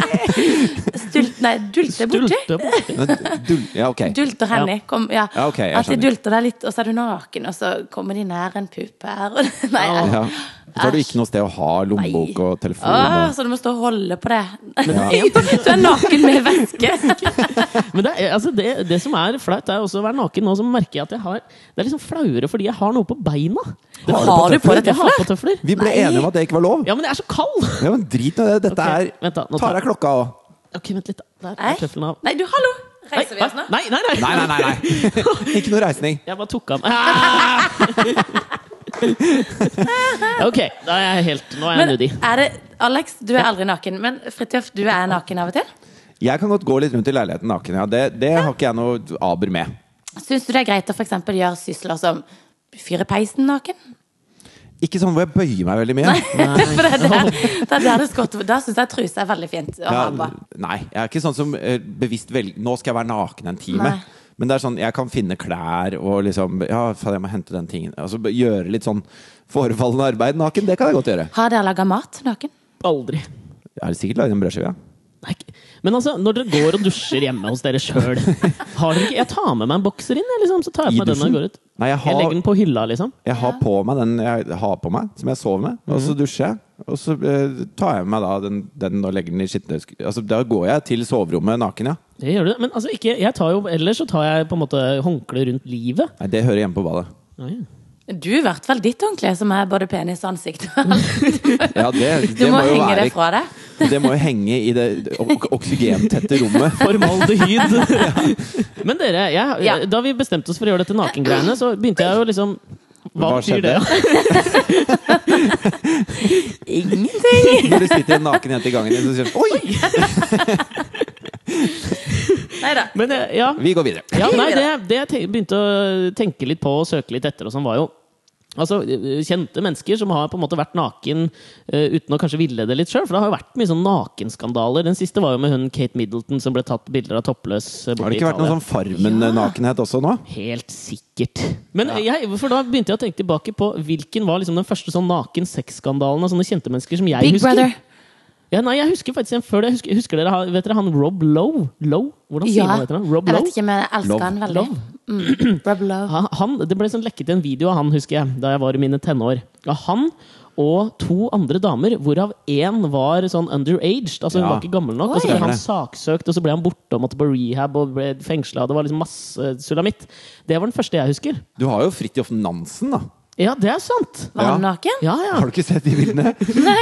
Speaker 3: Stult, nei, dulter borti.
Speaker 1: Dulte borti.
Speaker 2: Dul- Ja, ok.
Speaker 3: Dulter hen i. Kom, ja.
Speaker 2: Ja, ok, jeg
Speaker 3: At de
Speaker 2: skjønner.
Speaker 3: dulter deg litt, og så er du naken, og så kommer de nær en pup her. Og, nei, jeg-
Speaker 2: Ja. Så har du ikke noe sted å ha lommebok og
Speaker 3: Åh,
Speaker 2: telefon.
Speaker 3: så du må stå og holde på det.
Speaker 1: Ja.
Speaker 3: du er naken med veske.
Speaker 1: Men det, er, altså det, det som er flaut, er også å være naken nå, så merker jeg at jeg har Det er liksom flauere fordi jeg har noe på beina. Det-
Speaker 2: Har du på Har du på
Speaker 3: tøfler? deg
Speaker 1: Jeg har på tøfler?
Speaker 2: Og vi ble
Speaker 3: Nei.
Speaker 2: enige om at det ikke var lov!
Speaker 1: Ja, men jeg er så kald!
Speaker 2: Ja, men drit nå i det. Dette
Speaker 1: Ok,
Speaker 2: er
Speaker 1: vent da, nå
Speaker 2: Ta
Speaker 1: tar-
Speaker 2: deg klokka òg.
Speaker 1: Ok, vent litt. da. Der
Speaker 3: Nei,
Speaker 1: er tøflene av.
Speaker 3: nei, du, hallo!
Speaker 1: Nei,
Speaker 3: Reiser vi oss nå?
Speaker 1: nei, nei, nei.
Speaker 2: Nei, nei, nei. nei. ikke noe reisning.
Speaker 1: Jeg bare tok av meg Ah! Ok, da er jeg helt Nå er jeg
Speaker 3: Men
Speaker 1: nudi.
Speaker 3: er det, Alex, du er aldri naken, men Fridtjof, du er naken av og til.
Speaker 2: Jeg kan godt gå litt rundt i leiligheten naken. Ja. Det, det har ikke jeg noe aber med.
Speaker 3: Syns du det er greit å for eksempel gjøre sysler som fyre peisen naken?
Speaker 2: Ikke sånn hvor jeg bøyer meg veldig mye.
Speaker 3: For det er der, det er der det skorter. Da syns jeg truse er veldig fint å ha
Speaker 2: Ja,
Speaker 3: på.
Speaker 2: nei, jeg er ikke sånn som eh, bevisst velger Nå skal jeg være naken en time.
Speaker 3: Nei.
Speaker 2: Men det er sånn, jeg kan finne klær og liksom Ja, faen, jeg må hente den tingen. Altså, b- gjøre litt sånn forefallende arbeid naken. Det kan jeg godt gjøre.
Speaker 3: Har dere laga mat naken?
Speaker 1: Aldri.
Speaker 2: Jeg har sikkert lagd en brødskive. ja.
Speaker 1: Nei, ikke- men altså, når dere går og dusjer hjemme hos dere sjøl Jeg tar med meg en bokser inn, jeg, liksom, så tar jeg
Speaker 2: I
Speaker 1: på meg den når jeg
Speaker 2: dusjen?
Speaker 1: går ut.
Speaker 2: Nei, jeg
Speaker 1: Jeg
Speaker 2: har-
Speaker 1: legger den på hylla, liksom.
Speaker 2: Jeg har på meg den jeg har på meg, som jeg sover med. Og
Speaker 1: Mhm.
Speaker 2: så dusjer jeg. Og så eh, tar jeg med meg da den, den og legger den i skitne sk- Altså, da går jeg til soverommet naken, ja.
Speaker 1: Det gjør du. Men altså, ikke, jeg tar jo, ellers så tar jeg på en måte håndkle rundt livet.
Speaker 2: Nei, det hører hjemme på badet.
Speaker 1: Ja, ja.
Speaker 3: Du, i hvert fall ditt håndkle, som er både penis og ansikt.
Speaker 2: Ja, det,
Speaker 3: Du
Speaker 2: det
Speaker 3: må,
Speaker 2: må, jo
Speaker 3: henge
Speaker 2: være
Speaker 3: det fra deg.
Speaker 2: Det må jo henge i det ok- oksygentette rommet.
Speaker 1: Formaldehyd. Men dere, jeg,
Speaker 3: Ja.
Speaker 1: da vi bestemte oss for å gjøre dette nakengreiene, så begynte jeg jo liksom Hva,
Speaker 2: Hva
Speaker 1: betyr det?
Speaker 3: Ingenting!
Speaker 2: Når det sitter en naken jente i gangen din, så sier du Oi!
Speaker 3: Nei da.
Speaker 1: Men eh, ja,
Speaker 2: Vi går videre.
Speaker 1: ja nei, det, det jeg te- begynte å tenke litt på og søke litt etter, og sånn var jo Altså, eh, Kjente mennesker som har på en måte vært naken eh, uten å kanskje ville det litt sjøl. For det har jo vært mye sånn nakenskandaler. Den siste var jo med hun Kate Middleton som ble tatt bilder av toppløs. eh, borte
Speaker 2: Har det
Speaker 1: i
Speaker 2: ikke vært
Speaker 1: Italia.
Speaker 2: noe sånn Farmen-nakenhet også nå?
Speaker 1: Helt sikkert. Men jeg, for da begynte jeg å tenke tilbake på hvilken var liksom den første sånn naken sexskandalen av sånne kjente mennesker som jeg
Speaker 3: Big
Speaker 1: husker.
Speaker 3: Brother.
Speaker 1: Ja, nei, jeg husker faktisk en før det. Jeg Husker, husker dere, han- vet dere han Rob Lowe? Lowe? Hvordan sier man dette? nå? Rob
Speaker 3: jeg
Speaker 1: Lowe?
Speaker 3: vet ikke, men jeg elsker
Speaker 2: Love.
Speaker 3: han veldig. Mm. Rob Love.
Speaker 1: Han, han, det ble sånn lekket en video av han, husker jeg, da jeg var i mine tenår. Av han og to andre damer, hvorav én var sånn underaged. Altså Hun
Speaker 2: Ja.
Speaker 1: var ikke gammel nok. Og så
Speaker 3: Oi.
Speaker 1: ble han saksøkt, og så ble han borte og måtte på rehab og ble fengsla. Det var liksom masse sulamitt. Det var den første jeg husker.
Speaker 2: Du har jo Fridtjof Nansen, da.
Speaker 1: Ja, det er sant!
Speaker 3: Var han
Speaker 2: Ja.
Speaker 3: naken?
Speaker 1: Ja, ja.
Speaker 2: Har du ikke sett de bildene?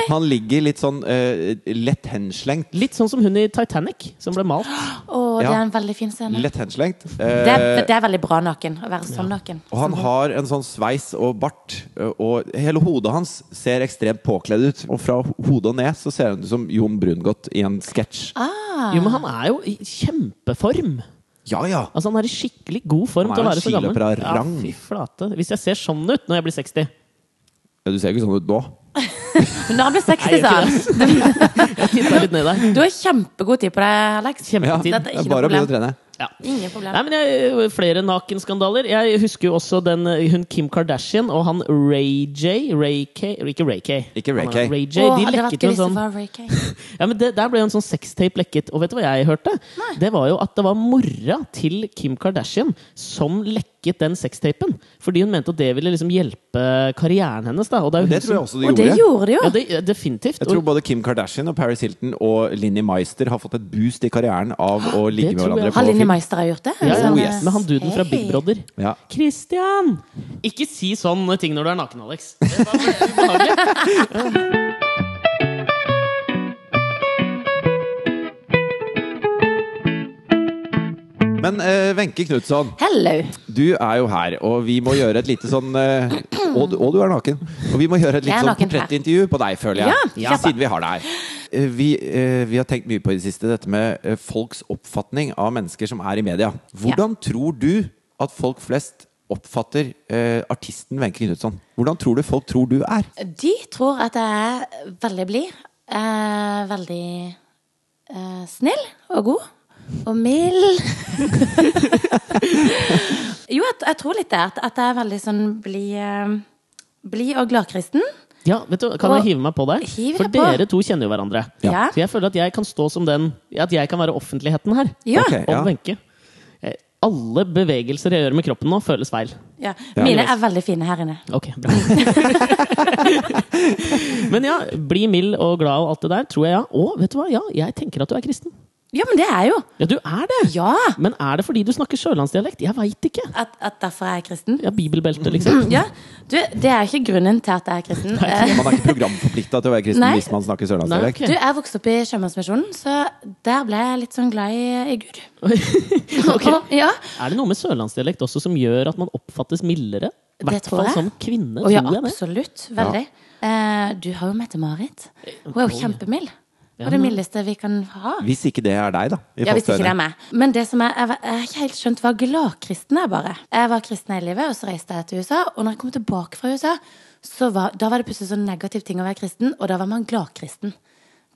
Speaker 2: Han ligger litt sånn eh, lett henslengt.
Speaker 1: Litt sånn som hun i Titanic, som ble malt.
Speaker 3: Å, det er
Speaker 2: Ja.
Speaker 3: en veldig fin scene.
Speaker 2: Lett henslengt.
Speaker 3: Det er,
Speaker 2: Eh,
Speaker 3: det er veldig bra naken. Å være sånn naken.
Speaker 2: og han har en sånn sveis og bart, eh, og hele hodet hans ser ekstremt påkledd ut. Og fra hodet og ned så ser han ut som Jon Brungot i en sketsj.
Speaker 3: Ah.
Speaker 1: Jo, men han er jo i kjempeform.
Speaker 2: Ja, ja!
Speaker 1: Altså Han er i skikkelig god form
Speaker 2: Han
Speaker 1: til å
Speaker 2: er jo
Speaker 1: være så gammel.
Speaker 2: skiløper av
Speaker 1: Ja,
Speaker 2: rang.
Speaker 1: fy flate. Hvis jeg ser sånn ut når jeg blir 60
Speaker 2: Du ser ikke sånn ut nå.
Speaker 3: Men når han blir
Speaker 1: Nei, jeg
Speaker 3: 60, sa
Speaker 1: gjør
Speaker 3: han.
Speaker 1: ikke det. Jeg titter litt ned der.
Speaker 3: Du har kjempegod tid på deg, Alex.
Speaker 2: Ja,
Speaker 1: Kjempetid.
Speaker 2: det
Speaker 3: Dette er ikke
Speaker 2: er
Speaker 3: noe
Speaker 2: bare å begynne å
Speaker 3: problem.
Speaker 2: trene.
Speaker 1: Ja.
Speaker 3: Ingen problem.
Speaker 1: Nei, men jeg, øh, Flere nakenskandaler. Jeg husker jo også den, øh, hun Kim Kardashian og han Ray J. Ray K. Ikke Ray K.
Speaker 2: Ikke Ray
Speaker 1: Han er
Speaker 2: K.
Speaker 1: Ray J.
Speaker 3: Å,
Speaker 1: de
Speaker 3: hadde det vært
Speaker 1: lekket jo
Speaker 3: gøy
Speaker 1: en
Speaker 3: hvis det
Speaker 1: sånn
Speaker 3: var Ray Kay.
Speaker 1: Ja, men det, Der ble jo en sånn sextape lekket. Og vet du hva jeg hørte? Det var jo at det var mora til Kim Kardashian som lekket den sextapen. Fordi hun mente at det ville liksom hjelpe karrieren hennes. da Og det, er jo hun
Speaker 2: Det tror jeg
Speaker 1: som,
Speaker 2: også du
Speaker 3: Og det
Speaker 2: gjorde.
Speaker 3: gjorde de jo.
Speaker 1: Ja, det, definitivt.
Speaker 2: Jeg tror
Speaker 1: Og
Speaker 2: både Kim Kardashian og Paris Hilton og Linni Meister har fått et boost i karrieren av
Speaker 3: Ah,
Speaker 2: å ligge
Speaker 1: Det
Speaker 2: med
Speaker 1: tror jeg.
Speaker 2: hverandre.
Speaker 3: Har
Speaker 2: på
Speaker 3: Linni
Speaker 2: film.
Speaker 3: Meister har gjort det?
Speaker 1: ja, ja,
Speaker 2: Oh,
Speaker 1: men-
Speaker 2: yes.
Speaker 1: Men han duden fra Big Brother.
Speaker 2: Ja.
Speaker 1: Christian! Ikke si sånn ting når du er naken, Alex. Det var veldig ubehagelig.
Speaker 2: Men eh, Wenche Knutson,
Speaker 3: Hello!
Speaker 2: du er jo her, og vi må gjøre et lite sånn eh, og, du- og du er naken. Og vi må gjøre et
Speaker 3: Jeg
Speaker 2: lite
Speaker 3: er
Speaker 2: sånn
Speaker 3: naken her.
Speaker 2: portrettintervju på deg, føler jeg.
Speaker 3: Ja, kjapt.
Speaker 2: Siden vi har deg her. Eh, Vi, eh, vi har tenkt mye på i det siste dette med eh, folks oppfatning av mennesker som er i media. Hvordan tror du at folk flest oppfatter eh, artisten Wenche Knutson? Hvordan tror du folk tror du er?
Speaker 3: De tror at jeg er veldig blid. Eh, veldig eh, snill og god. Og mild. jo, jeg, jeg tror litt det. At, at jeg er veldig sånn blid eh, blid og gladkristen.
Speaker 1: Ja, vet du, Kan
Speaker 3: Og-
Speaker 1: jeg hive meg på der?
Speaker 3: Hiv
Speaker 1: For
Speaker 3: deg på.
Speaker 1: dere to kjenner jo hverandre.
Speaker 3: Ja.
Speaker 1: Så jeg føler at jeg kan stå som den At jeg kan være offentligheten her.
Speaker 3: Ja.
Speaker 2: Ok,
Speaker 1: Om
Speaker 2: ja.
Speaker 1: Wenche. Eh, Alle bevegelser jeg gjør med kroppen nå, føles feil.
Speaker 3: Ja. Mine er veldig fine her inne.
Speaker 1: Ok, bra. Men ja, bli mild og glad og alt det der, tror jeg ja. Og vet du hva, ja, jeg tenker at du er kristen.
Speaker 3: Ja, men det er jeg jo.
Speaker 1: Ja, du er det!
Speaker 3: Ja!
Speaker 1: Men er det fordi du snakker sørlandsdialekt? Jeg veit ikke.
Speaker 3: At, at derfor er jeg kristen.
Speaker 1: Ja, Bibelbelte, liksom.
Speaker 3: Ja, du, Det er ikke grunnen til at jeg er kristen. Eh,
Speaker 2: Man er ikke programforplikta til å være kristen
Speaker 3: Nei.
Speaker 2: hvis man snakker sørlandsdialekt.
Speaker 1: Nei,
Speaker 3: Du, Jeg vokste opp i Sjømannsmisjonen, så der ble jeg litt sånn glad i, i Gud.
Speaker 1: Ok.
Speaker 3: Ja,
Speaker 1: Er det noe med sørlandsdialekt også som gjør at man oppfattes mildere? I
Speaker 3: Det
Speaker 1: hvert
Speaker 3: tror
Speaker 1: fall
Speaker 3: jeg.
Speaker 1: som kvinne.
Speaker 3: Å ja,
Speaker 1: tror jeg det.
Speaker 3: absolutt. Veldig. Eh, du har jo Mette-Marit. Hun er jo kjempemild. Og det
Speaker 1: men-
Speaker 3: mildeste vi kan ha.
Speaker 2: Hvis ikke det er deg, da. i
Speaker 3: Ja, hvis ikke
Speaker 2: folks
Speaker 3: det er
Speaker 2: øyne.
Speaker 3: meg. Men det som jeg, jeg, var- jeg har ikke helt skjønt hva gladkristen er, bare. Jeg var kristen hele livet, og så reiste jeg til USA. Og når jeg kom tilbake fra USA, så var, da var det plutselig sånn negativ ting å være kristen, og da var man gladkristen.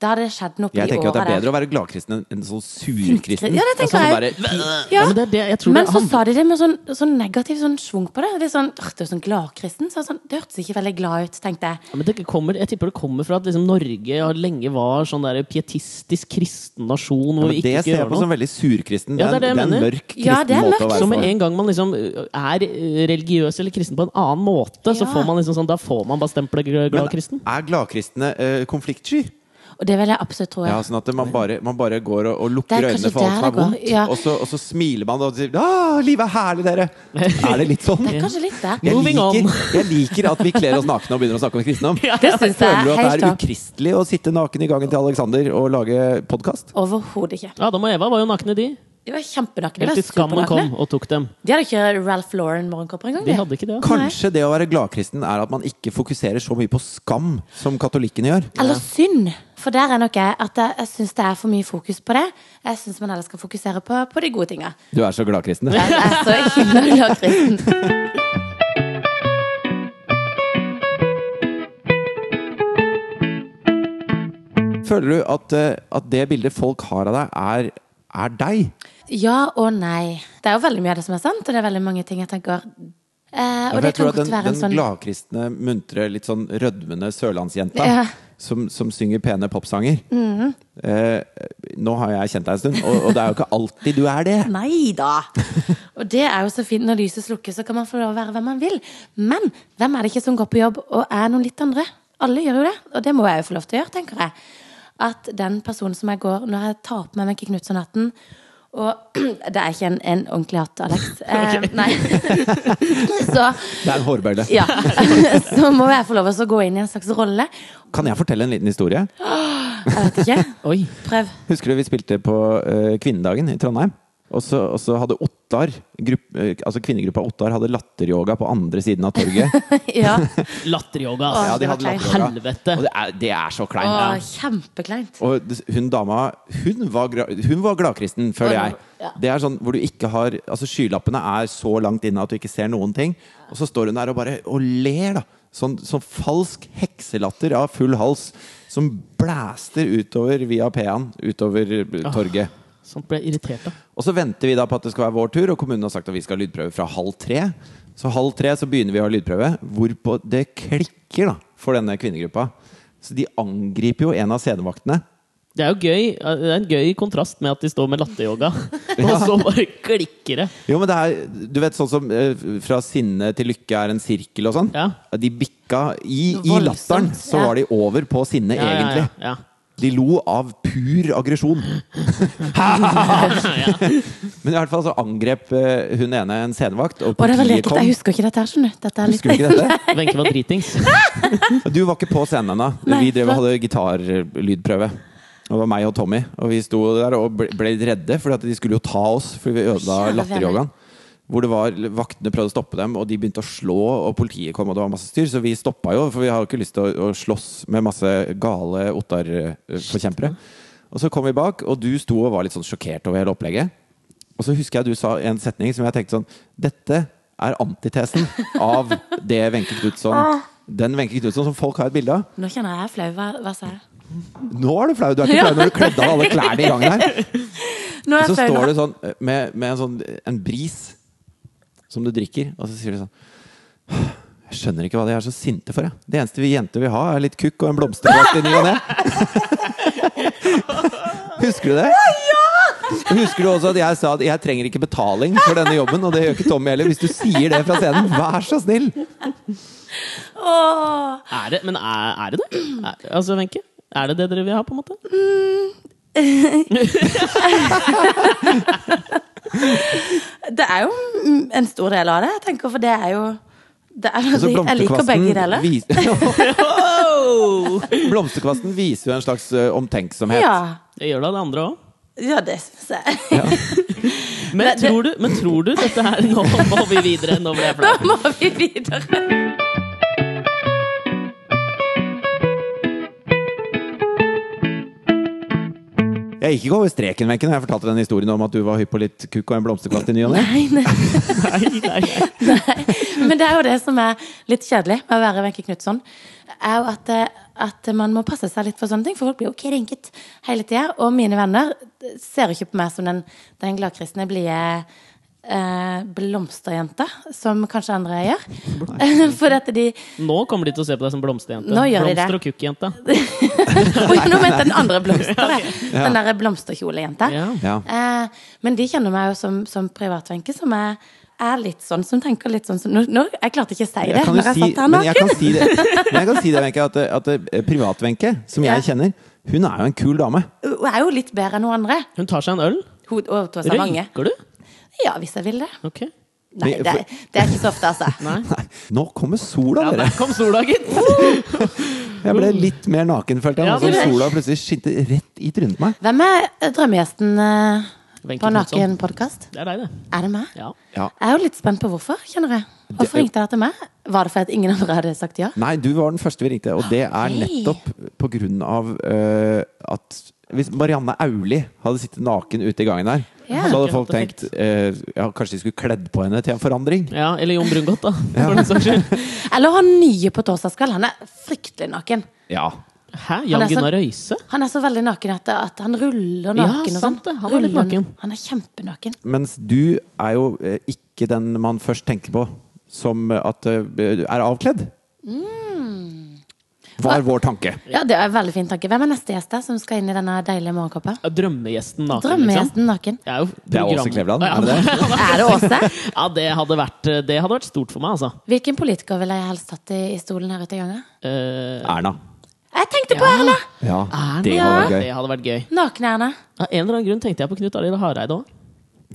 Speaker 3: Da hadde det skjedd noe på
Speaker 2: Jeg
Speaker 3: de
Speaker 2: tenker
Speaker 3: åra
Speaker 2: at det er bedre
Speaker 3: der.
Speaker 2: å være gladkristen enn en sånn surkristen.
Speaker 3: Ja, det tenker
Speaker 2: sånn
Speaker 3: jeg.
Speaker 2: Bare,
Speaker 1: Ja, men det er det, jeg tror
Speaker 3: Men
Speaker 1: det
Speaker 3: så
Speaker 1: handler-
Speaker 3: sa de det med sånn, sånn negativ sånn svung på det. Det er sånn, «Åh, det er jo sånn gladkristen. Så jeg sånn, det hørtes ikke veldig glad ut, tenkte jeg.
Speaker 1: Ja, men det kommer, jeg tipper det kommer fra at liksom Norge har lenge var sånn der pietistisk kristen nasjon.
Speaker 2: Ja,
Speaker 1: Hvor
Speaker 2: men
Speaker 1: vi ikke
Speaker 2: det ser
Speaker 1: skulle
Speaker 2: jeg
Speaker 1: gjøre
Speaker 2: på som
Speaker 1: noe.
Speaker 2: veldig surkristen.
Speaker 1: Ja, det er det jeg
Speaker 2: en- det er
Speaker 1: mener.
Speaker 2: en mørk kristen
Speaker 3: Ja, det er
Speaker 2: måte å
Speaker 3: mørkt.
Speaker 2: være
Speaker 1: Så med
Speaker 2: på.
Speaker 1: en gang man liksom er eh, religiøs eller kristen på en annen måte, så
Speaker 3: Ja.
Speaker 1: får man liksom sånn, da får man bare stempelet gl- glad kristen.
Speaker 2: Men er gladkristne eh, konfliktsky?
Speaker 3: Og det vil jeg absolutt tro.
Speaker 2: Ja, sånn at man bare, man bare går og, og
Speaker 3: Det
Speaker 2: lukker øynene
Speaker 3: er kanskje
Speaker 2: for alt som
Speaker 3: der
Speaker 2: er
Speaker 3: det går,
Speaker 2: vondt,
Speaker 3: ja.
Speaker 2: og, så, og så smiler man og sier 'Å, livet er herlig, dere'. Er det litt sånn?
Speaker 3: Det er kanskje litt der.
Speaker 2: Jeg
Speaker 1: Moving
Speaker 2: liker,
Speaker 1: on.
Speaker 2: jeg liker at vi kler oss nakne og begynner å snakke om kristendom.
Speaker 3: Det syns jeg
Speaker 2: Føler du
Speaker 3: er
Speaker 2: at
Speaker 3: helt
Speaker 2: det er
Speaker 3: topp.
Speaker 2: ukristelig å sitte naken i gangen til Alexander og lage podkast?
Speaker 3: Overhodet ikke.
Speaker 1: Adam og Eva var jo nakne, de.
Speaker 3: De var kjempenakne.
Speaker 1: Helt
Speaker 3: De,
Speaker 1: til skammen
Speaker 3: var supernakne.
Speaker 1: kom og tok dem.
Speaker 3: de hadde ikke Ralph Lauren morgenkåper engang.
Speaker 1: De hadde ikke det. altså.
Speaker 2: Kanskje det å være gladkristen er at man ikke fokuserer så mye på skam som katolikkene gjør.
Speaker 3: Eller synd. For der er nok jeg at jeg, jeg syns det er for mye fokus på det. Jeg syns man heller skal fokusere på, på de gode tinga.
Speaker 2: Du er så gladkristen. du.
Speaker 3: Jeg er så himla kristen.
Speaker 2: Føler du at, eh, at det bildet folk har av deg, er, er deg?
Speaker 3: Ja og nei. Det er jo veldig mye av det som er sant, og det er veldig mange ting jeg tenker eh,
Speaker 2: Ja,
Speaker 3: Og
Speaker 2: for
Speaker 3: det
Speaker 2: jeg tror
Speaker 3: kan
Speaker 2: at den,
Speaker 3: godt være
Speaker 2: den
Speaker 3: en sånn
Speaker 2: gladkristne, muntre, litt sånn rødmende sørlandsjenta
Speaker 3: Ja. Mhm.
Speaker 2: som, som synger pene popsanger eh, Nå har jeg kjent deg en stund, og, og det er jo ikke alltid du er det.
Speaker 3: Nei da! Og det er jo så fint. Når lyset slukkes, så kan man få lov å være hvem man vil. Men hvem er det ikke som går på jobb og er noen litt andre? Alle gjør jo det, og det må jeg jo få lov til å gjøre, tenker jeg. At den personen som jeg går Når jeg tar på meg Wenche Knutson-hatten Og det er ikke en, en ordentlig hatt, Alex. Eh, Nei. så
Speaker 2: Det er en hårbøyle.
Speaker 3: ja. så må jeg få lov til å gå inn i en slags rolle.
Speaker 2: Kan jeg fortelle en liten historie?
Speaker 3: Jeg vet ikke.
Speaker 1: Oi.
Speaker 3: Prøv.
Speaker 2: Husker du vi spilte på eh, kvinnedagen i Trondheim? Og så, og så hadde Ottar, grupp, eh, altså kvinnegruppa Ottar hadde latteryoga på andre siden av torget.
Speaker 3: Ja.
Speaker 1: Latteryoga,
Speaker 3: Åh,
Speaker 1: ass.
Speaker 2: Ja, de
Speaker 3: det var
Speaker 2: hadde
Speaker 3: kleint.
Speaker 2: latteryoga.
Speaker 1: Helvete.
Speaker 2: Og det er, det er så kleint.
Speaker 3: Å,
Speaker 2: Ja.
Speaker 3: kjempekleint.
Speaker 2: Og des- hun dama, hun var, gra- hun var gladkristen, føler
Speaker 3: Å,
Speaker 2: jeg.
Speaker 3: ja.
Speaker 2: Det er sånn hvor du ikke har Altså skylappene er så langt inne at du ikke ser noen ting. Og så står hun der og bare og ler, da. Sånn, sånn falsk hekselatter av full hals som blæster utover via P-en, utover eh, torget.
Speaker 1: Sånt ble jeg irritert av.
Speaker 2: Og så venter vi da på at det skal være vår tur, og kommunen har sagt at vi skal ha lydprøve fra halv tre. Så halv tre så begynner vi å ha lydprøve, hvorpå det klikker da, for denne kvinnegruppa. Så de angriper jo en av scenevaktene.
Speaker 1: Det er jo gøy, eh, det er en gøy kontrast med at de står med latteryoga, og så bare klikker det.
Speaker 2: Jo, men det er, du vet sånn som eh, fra sinne til lykke er en sirkel og sånn.
Speaker 1: Ja.
Speaker 2: De bikka i, i
Speaker 3: Voldsomt,
Speaker 2: latteren, så
Speaker 3: ja.
Speaker 2: var de over på sinne
Speaker 1: Ja, ja,
Speaker 2: egentlig.
Speaker 1: ja, ja.
Speaker 2: De lo av pur aggresjon. Men i hvert fall så angrep eh, hun ene en scenevakt, og
Speaker 3: Å, det var
Speaker 2: politiet
Speaker 3: ekkelt.
Speaker 2: kom.
Speaker 3: Jeg husker ikke dette her, skjønner du. Dette er litt
Speaker 2: Husker du ikke dette?
Speaker 1: Wenche var dritings.
Speaker 2: Du var ikke på scenen ennå.
Speaker 3: Nei,
Speaker 2: Vi drev og
Speaker 3: flott.
Speaker 2: hadde gitarlydprøve. Og det var meg og Tommy, og vi sto der og ble- ble litt redde, for de skulle jo ta oss. Fordi vi ødela
Speaker 3: Kjære
Speaker 2: latteryogaen. Hvor det var Vaktene prøvde å stoppe dem, og de begynte å slå, og politiet kom, og det var masse styr. Så vi stoppa jo, for vi har jo ikke lyst til å, å slåss med masse gale Ottar-forkjempere. Og så kom vi bak, og du sto og var litt sånn sjokkert over hele opplegget. Og så husker jeg du sa en setning som jeg tenkte sånn Dette er antitesen av det Wenche Knutson Den Wenche Knutson som folk har et bilde av.
Speaker 3: Nå kjenner jeg jeg er flau. Hva, hva sa jeg?
Speaker 2: Nå er du flau! Du er ikke flau når du kledde av alle klærne i gangen her.
Speaker 3: Nå er
Speaker 2: Så
Speaker 3: jeg flau.
Speaker 2: står
Speaker 3: nå.
Speaker 2: det sånn eh, med, med en sånn en bris som du drikker, og så sier du sånn Jeg skjønner ikke hva de er så sinte for, jeg. Det eneste vi jenter vil ha, er litt kukk og en blomsterdrakt i ny og ne. Husker du det? Husker du også at jeg sa at jeg trenger ikke betaling for denne jobben, og det gjør ikke Tommy heller. Hvis du sier det fra scenen, vær så snill!
Speaker 3: Åh.
Speaker 1: Er det, men er, er det det? Er, altså, Wenche? Er det det dere vil ha, på en måte?
Speaker 3: Det er jo mm, en stor del av det. Jeg tenker, for det er jo det er,
Speaker 2: Og så
Speaker 3: Jeg liker begge deler.
Speaker 2: vis-
Speaker 1: Wow!
Speaker 2: blomsterkvasten viser jo en slags ø, omtenksomhet.
Speaker 3: Ja.
Speaker 1: Det gjør da det andre òg.
Speaker 3: ja, det syns jeg.
Speaker 1: Men,
Speaker 3: Det- det-
Speaker 1: tror du- men tror du dette her Nå må vi videre. Nå ble jeg
Speaker 3: Da
Speaker 1: flau.
Speaker 3: må vi videre.
Speaker 2: Jeg gikk ikke over streken, Wenche, når jeg fortalte den historien om at du var hypp på litt kukk og en blomsterkvast i ny og ne.
Speaker 3: Nei, nei.
Speaker 1: Nei, nei, nei.
Speaker 3: Men det er jo det som er litt kjedelig med å være Wenche Knutson. Er jo at, eh, at man må passe seg litt for sånne ting, for folk blir jo krenket hele tida. Og mine venner ser jo ikke på meg som den, den gladkristne, blide eh, blomsterjenta, som kanskje andre gjør. For at de
Speaker 1: Nå kommer de til å se på deg som blomsterjente.
Speaker 3: Nå gjør de det.
Speaker 1: Blomster- og kukkjente.
Speaker 3: Oi, nå mente jeg den andre blomsteret. Den derre blomsterkjolejenta.
Speaker 1: Ja.
Speaker 2: Ja.
Speaker 3: Eh, men de kjenner meg jo som, som privatvenke, som er, er litt sånn, som tenker litt sånn som nå, nå, Jeg klarte ikke å si det.
Speaker 2: Jeg kan jo
Speaker 3: når jeg
Speaker 2: si,
Speaker 3: satt her
Speaker 2: men jeg
Speaker 3: naken.
Speaker 2: kan si det, men jeg kan si det Wenche, at, at eh, privat-Wenche, som jeg
Speaker 3: Ja.
Speaker 2: kjenner, hun er jo en kul dame.
Speaker 3: Hun er jo litt bedre enn hun andre.
Speaker 1: Hun tar seg en øl.
Speaker 3: Hun og Tove Stavanger.
Speaker 1: Røyker du?
Speaker 3: Ja, hvis jeg vil det.
Speaker 1: Ok.
Speaker 3: Nei,
Speaker 2: Men-
Speaker 3: det,
Speaker 2: for-
Speaker 3: det er ikke så ofte, altså.
Speaker 1: Nei.
Speaker 2: Nei, nå kommer sola,
Speaker 1: Ja,
Speaker 2: dere!
Speaker 1: der kom sola, gitt!
Speaker 2: Jeg ble litt mer naken, følte jeg.
Speaker 1: Ja,
Speaker 2: nå som
Speaker 1: det-
Speaker 2: sola plutselig skinte rett i trynet på meg.
Speaker 3: Hvem er eh, drømmegjesten eh,
Speaker 1: Wenche
Speaker 3: på
Speaker 1: Knutson.
Speaker 3: Naken podcast?
Speaker 1: Det er deg, det.
Speaker 3: Er det meg?
Speaker 1: Ja.
Speaker 2: Ja.
Speaker 3: Jeg er jo litt spent på hvorfor, kjenner jeg. Hvorfor ringte dere til meg? Var det fordi at ingen andre hadde sagt ja?
Speaker 2: Nei, du var den første vi ringte, og det er
Speaker 3: Hei.
Speaker 2: nettopp på grunn av eh, at hvis Marianne Auli hadde sittet naken ute i gangen der,
Speaker 3: Ja.
Speaker 2: så hadde folk
Speaker 1: Ikke hatt
Speaker 2: tenkt eh, ja, kanskje de skulle kledd på henne til en forandring.
Speaker 1: ja eller Jon Brungot, da. For den saks skyld.
Speaker 3: Eller han nye på Torsdagskveld. Han er fryktelig naken.
Speaker 2: Ja.
Speaker 1: Hæ? Jan
Speaker 3: Han er så-
Speaker 1: Gunnar Røise?
Speaker 3: Han er så veldig naken at, at han ruller
Speaker 1: Ja,
Speaker 3: naken og sånn.
Speaker 1: sant det. Han er litt
Speaker 3: Ruller-
Speaker 1: naken.
Speaker 3: Han er kjempenaken.
Speaker 2: Mens du er jo eh, ikke den man først tenker på som eh, at eh, er avkledd.
Speaker 1: Mm.
Speaker 2: Var vår tanke.
Speaker 3: Ja, det er en veldig fin tanke. Hvem er neste gjest da, som skal inn i denne deilige morgenkåpa?
Speaker 1: Ja, Drømmegjesten naken, liksom.
Speaker 3: Drømmegjesten naken.
Speaker 1: Jeg er jo
Speaker 2: Det er Åse
Speaker 1: program-
Speaker 2: Kleveland,
Speaker 1: Ja,
Speaker 2: er det det?
Speaker 3: Er det Åse?
Speaker 1: Ja, det hadde vært, det hadde vært stort for meg, altså.
Speaker 3: Hvilken politiker ville jeg helst hatt i, i stolen her ute i gangen?
Speaker 1: Eh,
Speaker 2: Erna.
Speaker 3: Jeg tenkte på Erna!
Speaker 2: Ja,
Speaker 1: Erna?
Speaker 2: det hadde vært
Speaker 1: Det
Speaker 2: gøy.
Speaker 1: hadde vært gøy.
Speaker 3: Nakne-Erna.
Speaker 1: Av en eller annen grunn tenkte jeg på Knut Arild Hareide òg.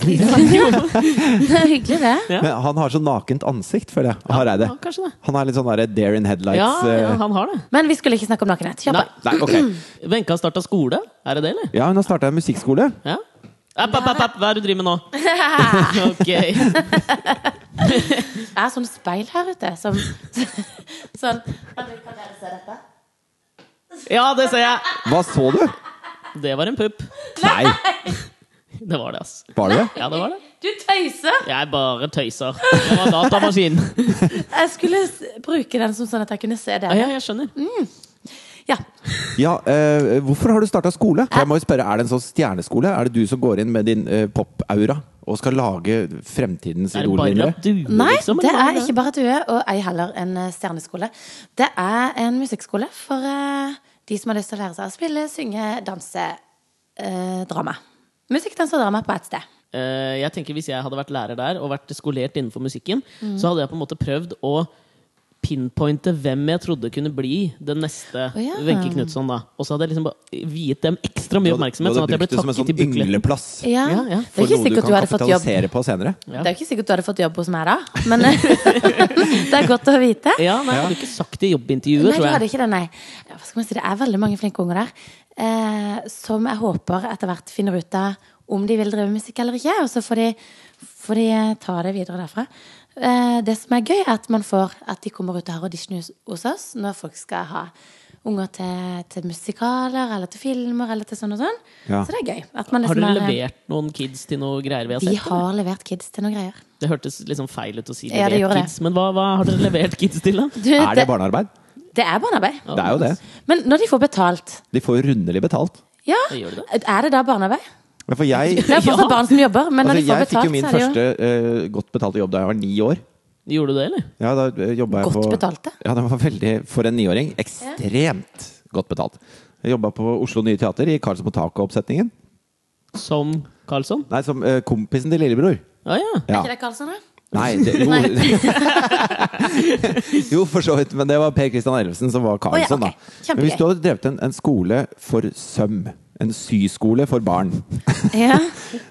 Speaker 3: Det er hyggelig, det.
Speaker 1: Ja.
Speaker 2: Men han har så nakent ansikt, føler jeg. Hareide.
Speaker 1: ja, kanskje det.
Speaker 2: Han er litt sånn der dare in headlights.
Speaker 1: Ja, ja,
Speaker 2: eh,
Speaker 1: han har det.
Speaker 3: Men vi skulle ikke snakke om nakenhet. Kjør
Speaker 1: Nei.
Speaker 3: på.
Speaker 2: Nei, ok.
Speaker 1: Wenche har starta skole. Er det det, eller?
Speaker 2: Ja, hun har starta en musikkskole.
Speaker 1: Ja? App, app, app, app. Hva er det du driver med nå? Ok.
Speaker 3: Det er sånn speil her ute som Sånn. Kan dere se dette?
Speaker 1: Ja, det ser jeg!
Speaker 2: Hva så du?
Speaker 1: Det var en pupp.
Speaker 2: Nei,
Speaker 1: Det var det, ass.
Speaker 2: var det det?
Speaker 1: Ja, det var det.
Speaker 3: Du tøyser!
Speaker 1: Jeg bare tøyser. Det var datamaskin.
Speaker 3: Jeg skulle s- bruke den som sånn at jeg kunne se
Speaker 1: Ja,
Speaker 3: dere.
Speaker 1: ja, jeg skjønner.
Speaker 3: Ja.
Speaker 2: Ja, eh, hvorfor har du starta skole? For jeg må jo spørre, Er det en sånn stjerneskole? Er det du som går inn med din eh, pop-aura og skal lage fremtidens
Speaker 1: Er det bare
Speaker 2: idolvinnere?
Speaker 1: at du,
Speaker 3: Nei,
Speaker 1: liksom?
Speaker 3: det
Speaker 1: eller hva
Speaker 3: er ikke bare due, og ei heller en eh, stjerneskole. Det er en musikkskole for eh, de som har lyst til å lære seg å spille, synge, danse, eh, drama. Musikk, dans og drama på ett sted.
Speaker 1: Eh, jeg tenker Hvis jeg hadde vært lærer der og vært skolert innenfor musikken, så hadde jeg på en måte prøvd å pinpointe hvem jeg trodde kunne bli den neste
Speaker 3: Å, ja.
Speaker 1: Wenche Knutson. da. Og så hadde jeg liksom bare viet dem ekstra mye
Speaker 2: Du hadde-
Speaker 1: oppmerksomhet.
Speaker 2: du
Speaker 1: Sånn
Speaker 2: hadde
Speaker 1: at jeg ble
Speaker 2: brukt det som en
Speaker 1: takket
Speaker 2: sånn
Speaker 1: i bukletten.
Speaker 2: yngleplass.
Speaker 3: Ja,
Speaker 1: Ja, ja.
Speaker 3: Det er ikke sikkert du hadde fått jobb
Speaker 2: For noe du kan kapitalisere på senere.
Speaker 1: Ja.
Speaker 3: Det er jo ikke sikkert du hadde fått jobb hos meg da, men eh, det er godt å vite.
Speaker 1: Ja, nei, jeg hadde ikke sagt det i jobbintervjuet,
Speaker 3: Nei, du
Speaker 1: tror
Speaker 3: hadde
Speaker 1: jeg.
Speaker 3: ikke det, nei. Ja, Hva skal man si, det er veldig mange flinke unger der, eh, som jeg håper etter hvert finner ut av om de vil drive musikk eller ikke, og så får de, får de eh, ta det videre derfra. Eh, det som er gøy, er at man får at de kommer ut og har audition hos- hos oss, når folk skal ha unger til, til musikaler, eller til filmer, eller til sånn og sånn.
Speaker 2: Ja.
Speaker 3: Så det er gøy. At man
Speaker 1: Har
Speaker 3: liksom
Speaker 1: dere
Speaker 3: er-
Speaker 1: levert noen kids til noe greier vi har
Speaker 3: De
Speaker 1: sett? eller?
Speaker 3: har levert kids til noen greier.
Speaker 1: Det hørtes liksom feil ut å si
Speaker 3: Ja, det
Speaker 1: levert
Speaker 3: gjorde det.
Speaker 1: kids, men hva, hva har dere levert kids til, da?
Speaker 3: Du,
Speaker 2: Er det barnearbeid?
Speaker 3: det er barnearbeid.
Speaker 2: Det er jo det.
Speaker 3: Men når de får betalt,
Speaker 2: De får jo rundelig betalt.
Speaker 3: ja,
Speaker 1: Det gjør
Speaker 3: er det da barnearbeid?
Speaker 2: Men for jeg
Speaker 3: Det er fortsatt
Speaker 1: Ja.
Speaker 3: barn som jobber, men når
Speaker 2: Altså,
Speaker 3: de får
Speaker 2: jeg fikk
Speaker 3: betalt,
Speaker 2: jo min
Speaker 3: så er det jo
Speaker 2: første eh, godt betalte jobb da jeg var ni år.
Speaker 1: Gjorde du det, eller?
Speaker 2: Ja, da eh, jobbet jeg
Speaker 3: Godt
Speaker 2: på,
Speaker 3: betalte?
Speaker 2: Ja, det var veldig, For en niåring. Ekstremt godt betalt. Jeg jobba på Oslo Nye Teater i Karlsmo Taco-oppsetningen.
Speaker 1: Som Karlsson?
Speaker 2: Nei, som eh, kompisen til lillebror.
Speaker 1: Å ja.
Speaker 2: Ja.
Speaker 3: Er ikke det Karlsson, da?
Speaker 2: Nei, det, jo. jo, for så vidt. Men det var Per Christian Ellefsen som var Karlsson,
Speaker 3: Å ja, ok.
Speaker 2: da. Men hvis du hadde drevet en, en skole for søm, en syskole for barn,
Speaker 3: Ja.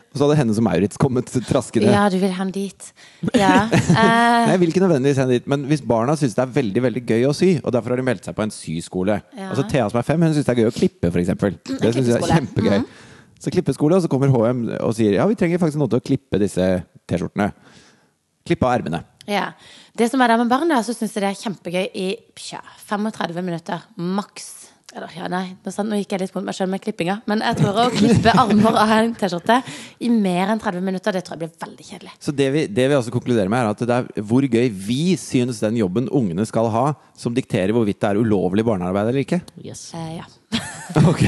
Speaker 2: og så hadde henne som Maurits kommet traskende
Speaker 3: ja, du vil ha ham dit. Ja.
Speaker 2: Nei,
Speaker 3: Eh,
Speaker 2: jeg vil ikke nødvendigvis hende dit, men hvis barna syns det er veldig veldig gøy å sy, og derfor har de meldt seg på en syskole
Speaker 3: Ja. Mm,
Speaker 2: Altså Thea som er fem, hun syns det er gøy å klippe, f.eks. Det syns jeg er
Speaker 3: klippeskole. Mhm.
Speaker 2: kjempegøy. Så klippeskole, og så kommer HM og sier ja, vi trenger faktisk noen til å klippe disse T-skjortene. Klippe av ermene.
Speaker 3: ja. Det som er der med barn, da, så syns jeg det er kjempegøy i pja, 35 minutter maks. Eller, ja, nei, nå, sant, nå gikk jeg litt mot meg sjøl med klippinga, men jeg tror å klippe armer av en T-skjorte i mer enn 30 minutter, det tror jeg blir veldig kjedelig.
Speaker 2: Så det vi, det vi også konkluderer med, er at det er hvor gøy vi syns den jobben ungene skal ha, som dikterer hvorvidt det er ulovlig barnearbeid eller ikke.
Speaker 1: Yes.
Speaker 3: Eh, ja.
Speaker 2: Ok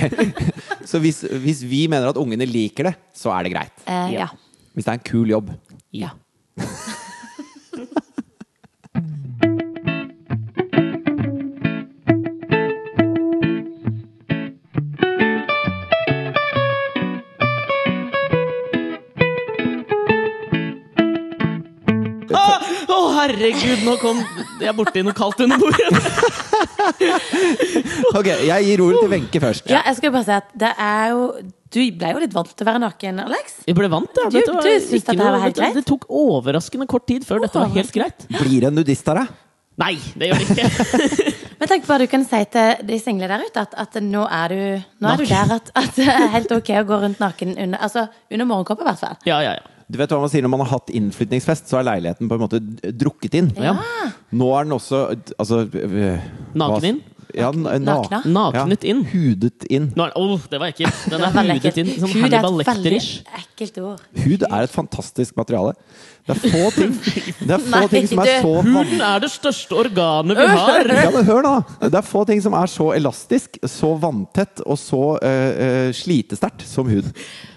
Speaker 2: Så hvis, hvis vi mener at ungene liker det, så er det greit.
Speaker 3: Eh, ja.
Speaker 2: Hvis det er en kul jobb.
Speaker 1: Ja. Å, herregud, nå kom jeg borti noe kaldt under bordet!
Speaker 2: Ok, jeg gir ordet til Wenche først.
Speaker 3: ja, jeg skal bare si at det er jo Du ble jo litt vant til å være naken, Alex.
Speaker 1: Jeg ble vant, ja.
Speaker 3: Du-
Speaker 1: Dette var
Speaker 3: du synes
Speaker 1: ikke
Speaker 3: at det her var
Speaker 1: noe-
Speaker 3: helt greit?
Speaker 1: Det tok overraskende kort tid før dette var helt greit.
Speaker 2: Blir det en nudist her, da?
Speaker 1: Nei, det gjør det ikke.
Speaker 3: Men tenk på hva du kan si til de single der ute, at, at nå, er du, nå er du der at, at det er helt ok å gå rundt naken under, altså, under morgenkåpa, i hvert fall.
Speaker 1: Ja, ja, ja.
Speaker 2: Du vet hva man sier Når man har hatt innflytningsfest, så er leiligheten på en måte d- drukket inn.
Speaker 1: ja.
Speaker 2: Nå er den også altså, øh,
Speaker 1: Naken
Speaker 2: hva-
Speaker 1: inn?
Speaker 2: Ja, na
Speaker 3: Nakna?
Speaker 1: Naknet inn.
Speaker 2: Hudet inn.
Speaker 1: Nå er, åh, det var ekkelt. Den
Speaker 3: Det
Speaker 1: er
Speaker 3: er veldig
Speaker 1: hudet
Speaker 3: ekkelt.
Speaker 1: inn. Sånn
Speaker 3: Hud er
Speaker 1: Hannibal
Speaker 3: et veldig
Speaker 1: Lecter-ish.
Speaker 3: ekkelt ord.
Speaker 2: Hud er et fantastisk materiale. Det er få ting, det er få
Speaker 3: Nei,
Speaker 2: ting som er
Speaker 3: du-
Speaker 2: så vanskelig
Speaker 1: Huden er det største organet vi har!
Speaker 2: ja, men hør nå! Det er få ting som er så elastisk, så vanntett og så øh, øh, slitesterkt som hud.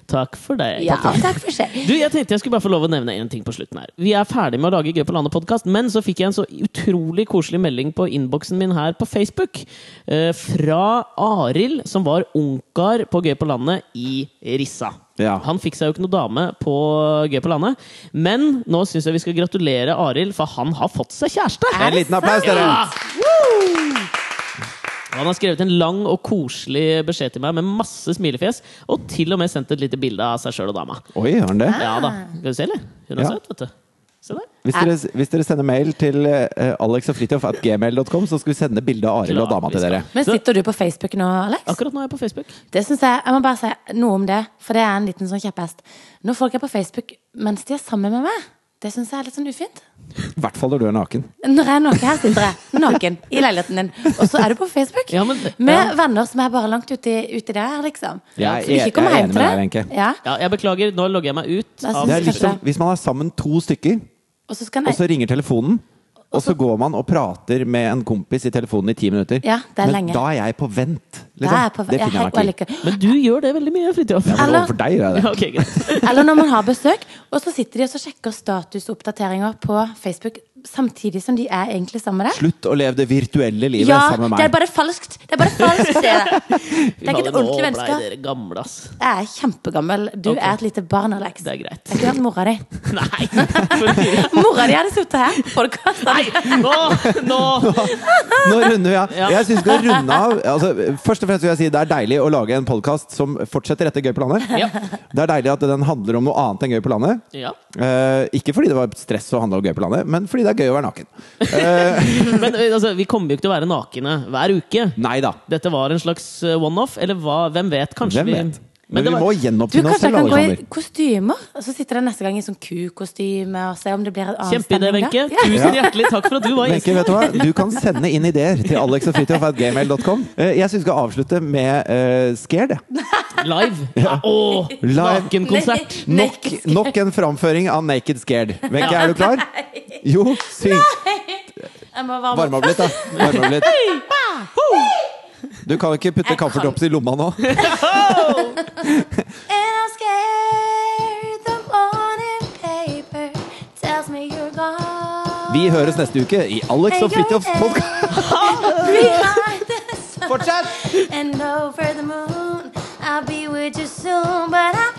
Speaker 1: Takk for deg.
Speaker 3: Ja, takk for seg.
Speaker 1: Du, jeg tenkte jeg skulle bare få lov å nevne en ting på slutten her. Vi er ferdig med å lage Gøy på landet-podkast, men så fikk jeg en så utrolig koselig melding på innboksen min her på Facebook eh, fra Arild, som var ungkar på Gøy på landet i Rissa.
Speaker 2: Ja.
Speaker 1: Han fikk seg jo ikke noe dame på Gøy på landet, men nå syns jeg vi skal gratulere Arild, for han har fått seg kjæreste!
Speaker 2: En liten applaus, dere!
Speaker 1: Ja! Og Han har skrevet en lang og koselig beskjed til meg med masse smilefjes, og til og med sendt et lite bilde av seg sjøl og dama.
Speaker 2: Oi, har den det?
Speaker 1: Ja da. Skal du se, eller? Hun er
Speaker 2: Ja.
Speaker 1: søt, vet du. Se der.
Speaker 2: Hvis dere, hvis dere sender mail til uh, alexogfritjof.gmail.com, så skal vi sende bilde av Arild og dama til dere.
Speaker 3: Men sitter du på Facebook nå, Alex?
Speaker 1: Akkurat nå er jeg på Facebook.
Speaker 3: Det synes jeg, jeg må bare si noe om det, for det er en liten sånn kjepphest. Når folk er på Facebook mens de er sammen med meg, det syns jeg er litt sånn ufint.
Speaker 2: I hvert fall når du er naken.
Speaker 3: Når jeg er naken her, sitter jeg naken i leiligheten din, og så er du på Facebook
Speaker 1: Ja, men-
Speaker 3: med venner som er bare langt uti, uti der, liksom.
Speaker 2: Jeg er-
Speaker 3: Så du ikke kommer
Speaker 2: jeg er
Speaker 3: hjem
Speaker 2: enig
Speaker 3: til
Speaker 2: med deg,
Speaker 3: det.
Speaker 2: Wenche.
Speaker 3: Ja.
Speaker 1: Ja, jeg beklager, nå logger jeg meg ut.
Speaker 3: er
Speaker 1: Av,
Speaker 2: Det er litt
Speaker 3: Kanskje.
Speaker 2: som hvis man er sammen to stykker,
Speaker 3: Og så skal
Speaker 2: og så
Speaker 3: jeg
Speaker 2: ringer telefonen, og så går man og prater med en kompis i telefonen i ti minutter.
Speaker 3: Ja, det er
Speaker 2: Men
Speaker 3: lenge.
Speaker 2: da er jeg på vent.
Speaker 3: Da
Speaker 2: Liksom.
Speaker 3: er jeg på
Speaker 2: det
Speaker 3: jeg
Speaker 2: finner
Speaker 3: er
Speaker 2: jeg meg
Speaker 3: helt-
Speaker 2: ikke i.
Speaker 3: og
Speaker 1: men du gjør det veldig mye, Fridtjof.
Speaker 2: Ja, men
Speaker 3: Eller-
Speaker 2: Overfor deg gjør jeg
Speaker 1: Ja,
Speaker 2: det.
Speaker 1: ok, greit.
Speaker 3: like- Eller når man har besøk, og så sitter de og så sjekker statusoppdateringer på Facebook samtidig som de er egentlig sammen med deg.
Speaker 2: Slutt å leve det virtuelle livet
Speaker 3: Ja,
Speaker 2: sammen
Speaker 3: det
Speaker 2: med
Speaker 3: er
Speaker 2: meg.
Speaker 3: bare falskt! Det er bare falskt, det er det. Det er ikke et
Speaker 1: Fader,
Speaker 3: ordentlig
Speaker 1: Nå blei
Speaker 3: vennskap.
Speaker 1: dere gamle, ass.
Speaker 3: Jeg er kjempegammel. Du
Speaker 1: Ok.
Speaker 3: er et lite barn, Alex.
Speaker 1: Det
Speaker 3: Jeg
Speaker 1: er greit.
Speaker 3: har ikke hørt mora di.
Speaker 1: Nei! for-
Speaker 3: Mora di hadde sittet her. Podcast.
Speaker 1: Nei! Nå! nå.
Speaker 3: Ah!
Speaker 2: Nå runder vi av.
Speaker 1: Ja.
Speaker 2: Jeg synes vi skal runde av. Altså, først og fremst vil jeg si det er deilig å lage en podkast som fortsetter etter Gøy på landet.
Speaker 1: Ja.
Speaker 2: Det er deilig at den handler om noe annet enn Gøy på landet.
Speaker 1: Ja.
Speaker 2: Eh, ikke fordi det var stress å handle om Gøy på landet, men fordi det er gøy å være naken.
Speaker 1: Men altså, vi kommer jo ikke til å være nakne hver uke.
Speaker 2: Nei da.
Speaker 1: Dette var en slags eh, one-off, eller hva? Hvem vet? Kanskje
Speaker 2: Hvem vet? Men,
Speaker 1: det
Speaker 2: vi
Speaker 1: var-
Speaker 2: må
Speaker 3: Du,
Speaker 2: gjenåpne oss
Speaker 3: kanskje jeg
Speaker 2: selv,
Speaker 3: kan gå i
Speaker 2: Alexander.
Speaker 3: kostymer? Og så sitter jeg neste gang i sånn kukostyme og se om det blir en annen
Speaker 1: Kjempeidé,
Speaker 3: stemning da.
Speaker 1: Wenche.
Speaker 3: Ja.
Speaker 1: Tusen hjertelig takk for at du var gjest.
Speaker 2: Wenche, vet du hva? Du kan sende inn ideer til alexogfritjof.gmail.com. Jeg syns vi skal avslutte med eh, Scared. jeg.
Speaker 1: Live! Ja. Åh,
Speaker 2: Live.
Speaker 1: Nakenkonsert!
Speaker 2: Nok, nok en framføring av Naked Scared. Wenche, er du klar? Jo, syng.
Speaker 4: Jeg må varme
Speaker 2: Varm opp litt, da. Varm opp litt. Du kan jo ikke putte kamferdrops i lomma nå.
Speaker 3: And I'm scared. The morning paper tells me you're gone.
Speaker 2: Vi høres neste uke i Alex og Fridtjofs podkast.
Speaker 3: Behind the sun
Speaker 2: Fortsett!
Speaker 3: and over the moon, I'll be with you soon. But I'm